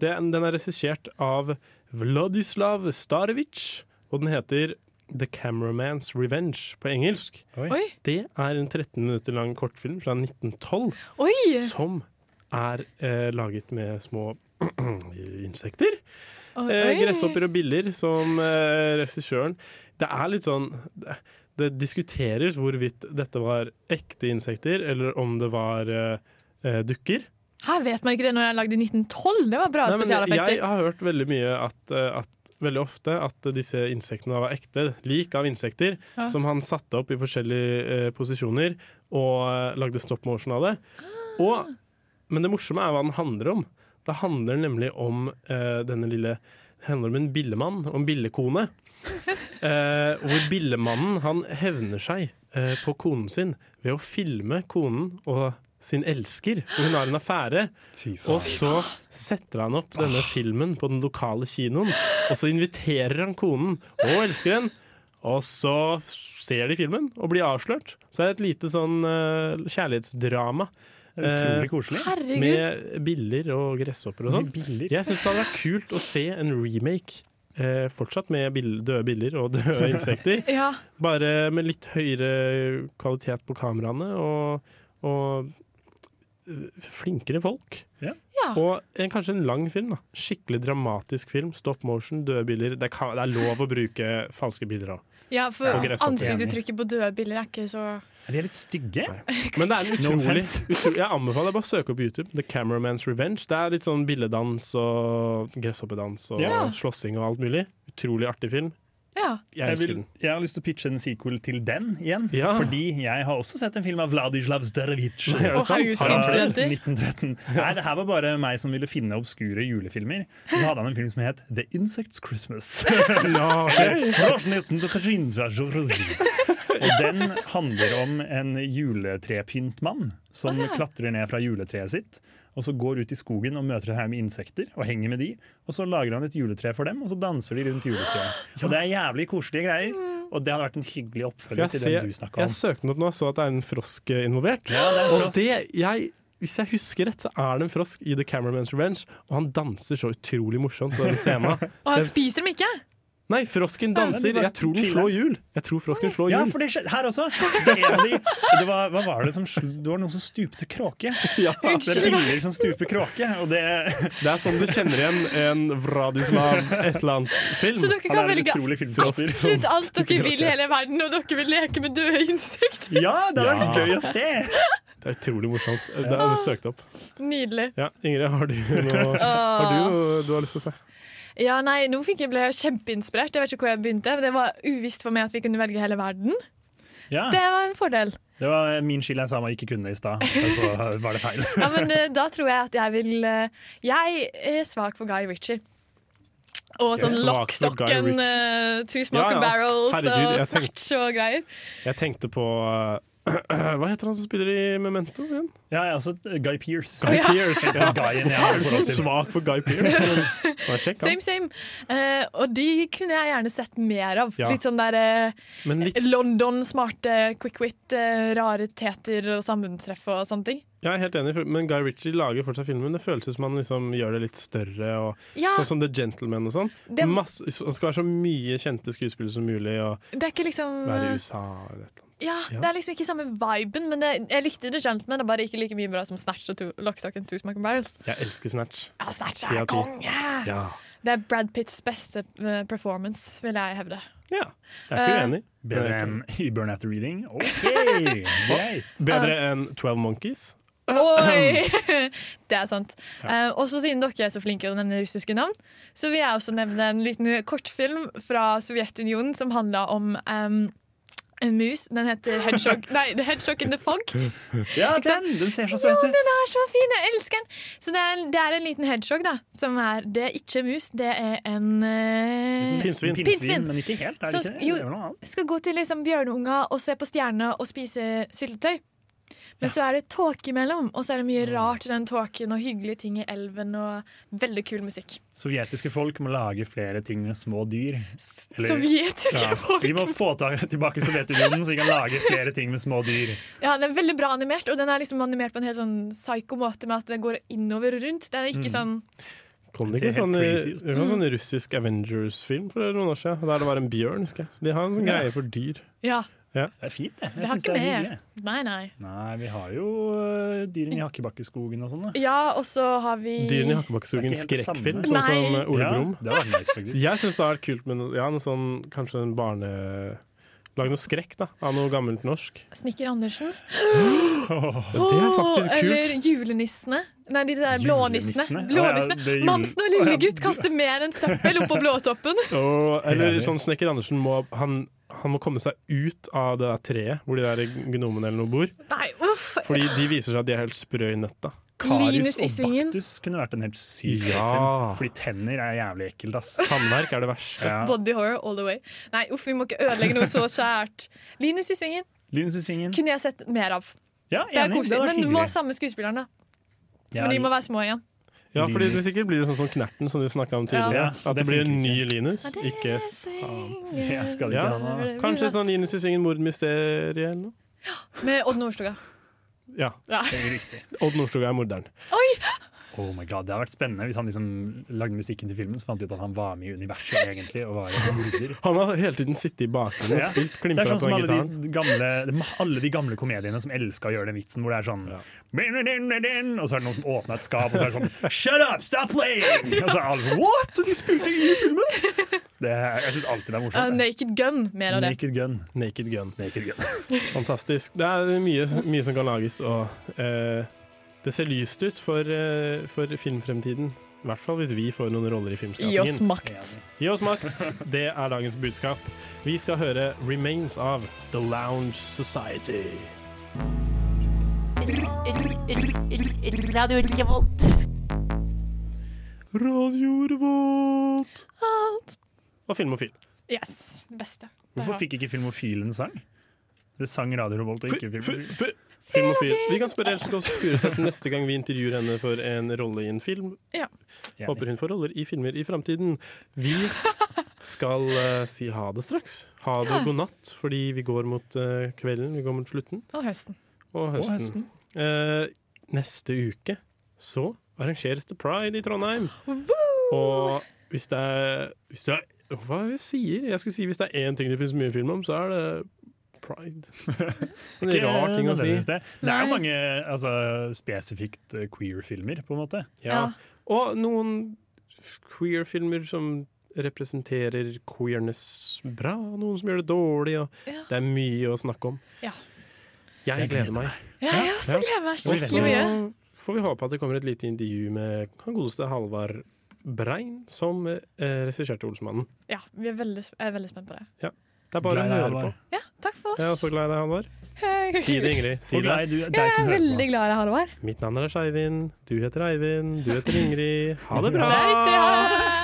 Det, den er regissert av Vladislav Starevic, og den heter The Cameraman's Revenge på engelsk.
Oi.
Det er en 13 minutter lang kortfilm fra 1912
Oi!
som er eh, laget med små <clears throat> insekter.
Oi.
Eh, gresshopper og biller, som eh, regissøren Det er litt sånn det, det diskuteres hvorvidt dette var ekte insekter, eller om det var eh, eh, dukker.
Her vet man ikke det når jeg lagde i 1912. Det var bra
Nei, men jeg
spesialeffekter.
har hørt veldig mye at, eh, at veldig ofte at disse insektene var ekte lik av insekter
Ja.
som han satte opp i forskjellige eh, posisjoner og eh, lagde stop motion av det.
Ah.
Og, men det morsomme er hva den handler om. Det handler nemlig om eh, denne lille det handler om en billemann og en billekone. Eh, hvor billemannen han hevner seg eh, på konen sin ved å filme konen og sin elsker. Og hun har en affære. Og så setter han opp denne filmen på den lokale kinoen. Og så inviterer han konen og elskeren. Og så ser de filmen og blir avslørt. Så det er et lite sånn eh, kjærlighetsdrama.
Utrolig
eh,
koselig. Herregud.
Med biller og gresshopper og sånn. Jeg syns det hadde vært kult å se en remake. Eh, fortsatt med bill døde biller og <laughs> døde insekter.
Ja.
Bare med litt høyere kvalitet på kameraene og, og eh, flinkere folk.
Ja.
Og en, kanskje en lang film. da Skikkelig dramatisk film. Stop motion, døde biller. Det, kan, det er lov å bruke falske bilder òg.
Ja, for
På gresshoppet.
ansiktuttrykket på døde biler er ikke så
De er litt stygge.
Men det er en
No
utrolig,
offense.
utrolig Jeg anbefaler deg bare å søke opp på YouTube. The Cameraman's Revenge. Det er litt sånn billedans og gresshoppedans og
Ja.
slåssing og alt mulig. Utrolig artig film.
Ja.
Jeg
Jeg,
elsker
vil,
den.
jeg har lyst til å pitche en sequel til den igjen.
Ja.
Fordi jeg har også sett en film av Vladislav Zdarevic.
Nei, er det Å, sant? herregud,
Fra
filmstudenter.
1913. Nei, det her var bare meg som ville finne obskure julefilmer. Og så hadde han en film som het The Insects Christmas.
<laughs> Ja, ok.
sånn Og den handler om en juletrepyntmann som
Å, ja.
klatrer ned fra juletreet sitt. Og så går ut i skogen og møter en haug med insekter og henger med de. Og så lager han et juletre for dem, og så danser de rundt juletreet. Og det er jævlig koselige greier. Og det hadde vært en
For
hyggelig
jeg,
oppfølger til den du
ser,
snakka
jeg
om.
søkte den opp nå og så at det er en frosk eh, involvert.
Ja, det er en
og
frosk.
det, jeg, hvis jeg husker rett, så er det en frosk i The Cameraman's Revenge, og han danser så utrolig morsomt på den scenen.
<laughs>
Og han
Den-
spiser dem
<laughs>
ikke!
Nei, frosken danser! Jeg tror den slår hjul! Jeg tror frosken slår hjul.
Ja, for det skjedde her også! Det, er en av de, det var, hva var det som sl- Det var noen som stupte kråke. Det er
Unnskyld.
biller som stuper kråke, og det
Det er sånn du kjenner igjen en Vradislav et eller annet film.
Så dere kan
Han er en
velge
utrolig filmskaper.
absolutt alt dere vil i
Kråke.
hele verden, og dere vil leke med døde insekter!
Ja, det hadde vært
Ja.
gøy å se!
Det er utrolig morsomt. Det er søkt opp.
<laughs> Nydelig.
Ja, Ingrid, har du noe <laughs> har du, noe du har lyst til å se?
Ja, nei, nå fikk jeg ble jeg kjempeinspirert. Jeg vet ikke hvor jeg begynte, men det var uvisst for meg at vi kunne velge hele verden.
Ah.
Ja,
Det var en fordel.
det var min skyld jeg sa man ikke kunne det i stad, og så var det feil.
Ja, men eh, da tror jeg at jeg vil eh, Jeg er svak for Guy Ritchie. Og
Jeg er
sånn
svak for Guy
lockstocken,
Ritchie.
eh, two smoker
Ja, ja.
barrels
Herregud,
og
jeg tenkte-
snatch og greier.
Jeg tenkte på eh, <clears throat> Hva heter han som spiller i Memento igjen?
Ja, jeg er også Guy Pearce.
Guy
Ja.
Pearce.
Det er Guyen jeg har
Hvorfor er du så
forhold til.
svak for Guy
<laughs>
Pearce? Bare sjekk
Same,
han.
same. Eh, og de kunne jeg gjerne sett mer av.
Ja.
Litt sånn der eh,
Men litt-
London, smarte quick wit, eh, rare teter og sammentreff og sånne ting.
Jeg er helt enig, for- men Guy Ritchie lager fortsatt filmen. Det føles ut som han liksom gjør det litt større. Og,
Ja.
Sånn som The Gentleman og sånn.
Ah. Det-
Masse, han skal være så mye kjente skuespillere som mulig, og
Det er ikke liksom
være i
eh,
USA eller et eller annet.
Ja,
Ja.
Det er liksom ikke samme viben, men det, jeg likte The Gentleman. Det er bare ikke like mye bra som Snatch og to, Lockstock and Two Smoking Barrels.
Jeg elsker Snatch.
Ja, Snatch
Ti
er
av ti.
konge!
Ja.
Det er Brad Pitts beste eh, performance, vil jeg hevde.
Ja, jeg er ikke
Eh,
uenig.
Bedre enn Burn After Reading? OK, greit.
Bedre enn Twelve Monkeys?
Oi! <laughs> Det er sant. Eh, og så siden dere er så flinke å nevne russiske navn, så vil jeg også nevne en liten kortfilm fra Sovjetunionen som handla om em, en mus. Den heter <laughs> Hedgehog Nei, The Hedgehog in the Fog.
Ja,
Ikke sant?
den! Den ser så
Jo,
søt ut.
den er så fin! Jeg elsker den! Så det er, det er en liten hedgehog, da. Som er, det er ikke mus, det er en eh,
Liksom Pinnsvin.
pinnsvin.
Men ikke helt, er
Som
det ikke?
jo,
Det er noe annet.
skal gå til liksom bjørneunger og se på stjerner og spise syltetøy. Men så er det tåke imellom, og så er det
Mm.
mye rart i den tåken, og hyggelige ting i elven, og veldig kul musikk.
Sovjetiske folk må lage flere ting med små dyr.
sovjetiske folk?
Vi må få ta tilbake Sovjetunionen, så vi kan lage flere ting med små dyr.
Ja, Den er veldig bra animert, og den er liksom animert på en helt sånn psyko måte, med at den går innover og rundt. Det er ikke
Mm.
sånn
Kom det
Det
ikke
ser
sånn,
helt
i-
crazy ut.
det var sånn russisk Avengers-film for noen år siden? Der det var en bjørn, husker jeg. Så de har en sånn
Ja.
greie for dyr.
Ja,
Ja.
Det er fint, det. Jeg
det har
synes
ikke
det er
med.
hyggelig.
Nei, nei.
Nei, vi har jo øh, dyrene i Hakkebakkeskogen og sånn. da.
Ja, og så har vi
Dyrene i Hakkebakkeskogen,
Det er ikke helt det
skrekkfilm,
samme.
sånn som
Nei.
Ole
Ja,
Brumm.
det var nice, faktisk.
Jeg syns det hadde vært kult med noe, ja, noe sånn, kanskje en barne... Lag noe skrekk da, av noe gammelt <gasps> norsk.
Snikker Andersen.
Det er faktisk kult.
Eller julenissene. Nei, de der blånissene.
Julenissene?
blånissene.
Ja, det er jul-
Mamsen og lillegutt kaster mer enn søppel oppå
<laughs>
blåtoppen.
Og, eller
Helt enig.
sånn Snekker Andersen må, han, han må komme seg ut av det der treet hvor de der gnomene eller noe bor.
Nei, uff.
Fordi de viser seg at de er helt sprø i nøtta.
Linus
Karius
i
og
svingen.
baktus kunne vært en helt syk
Ja.
film. Fordi tenner er jævlig ekkelt, ass.
Tannverk er det verste.
<laughs> Body horror all the way. Nei, uff, vi må ikke ødelegge noe så skjært. Linus i svingen
Linus i svingen.
kunne jeg sett mer av.
Ja,
Det er
enig. Det
koselig.
hadde vært
Men du må ha
hyggelig.
samme skuespilleren, da.
Ja,
Men de må være små igjen.
Ja, fordi
Linus.
Hvis ikke blir det sånn som Knerten, som du snakka om
Ja,
tidligere. At det
det
blir
funker
en ny Linus. Ikke faen.
Jeg skal ikke ha noe.
Kanskje sånn Linus i svingen mordmysteriet eller noe.
Med Odd Nordstoga.
Ja.
Ja.
Riktig.
Odd Nordstoga er morderen.
Oi!
Oh my god, Det hadde vært spennende hvis han liksom lagde musikken til filmen, så fant de ut at han var med i universet, egentlig. Og var en morder.
Han har hele tiden sittet i bakgrunnen og
Ja.
spilt
Det er
klimpra på
sånn som
den
alle
gitaren.
de, gamle, de- alle de gamle komediene som elsker å gjøre den vitsen hvor det er sånn Og så er det noen som åpner et skap, og så er det sånn Shut up! Stop
<laughs>
playing! Og så er alle sånn What?! De spilte ikke i filmen! Det, er- jeg syns alltid det er
Ah,
morsomt. det.
naked gun, mer av det.
Naked Gun.
Naked Gun.
Naked Gun.
Fantastisk. Det er mye, mye som kan lages, og eh, det ser lyst ut for, eh, for filmfremtiden. I hvert fall hvis vi får noen roller i filmskapingen.
Gi oss makt.
Gi oss makt. Det er dagens budskap. Vi skal høre 'Remains' av The Lounge Society.
Radio Revolt.
Radio Revolt. Og Filmofil.
Yes. Beste.
Hvorfor fikk ikke Filmofilen sang? Dere sang Radio Revolt og ikke Filmofil.
Filmofil. Vi kan spørre Else Kåss Furuseth neste gang vi intervjuer henne for en rolle i en film.
Ja.
Håper hun får roller i filmer i framtiden. Vi skal eh, si ha det straks. Ha det
Ja.
god natt, fordi vi går mot eh, kvelden, vi går mot slutten.
Og høsten.
Og
Og
høsten.
høsten.
Eh, neste uke så arrangeres det pride i Trondheim. Og hvis det er, hvis det er Hva er det jeg sier? Jeg skulle si hvis det er én ting det finnes mye film om, så er det <laughs> pride. Det er en rar ting å si.
Det, det er jo mange altså, spesifikt eh, queer-filmer, på en måte.
Ja. Og noen f- queer-filmer som representerer queerness bra, og noen som gjør det dårlig. Og
Ja.
Det er mye å snakke om.
Ja.
Jeg gleder meg.
Ja, jeg også gleder meg
Og
skikkelig mye.
Så får vi håpe at det kommer et lite intervju med han godeste Halvard Brein, som eh, regisserte Olsmannen.
Ja, vi er veldig, sp- jeg er veldig spent på det.
Ja. Det er bare
Glad i
å
deg,
høre på.
Halvard.
Ja, takk for
Jeg er
oss.
så glad i deg,
<laughs>
Halvard.
Hei.
Si det, Ingrid. Si
Og
det.
glad i du-
Jeg er veldig glad i deg, Halvard.
Mitt navn er Lars Eivind. Du heter Eivind. Du heter Ingrid. Ha det bra!
Det er riktig. Ha det!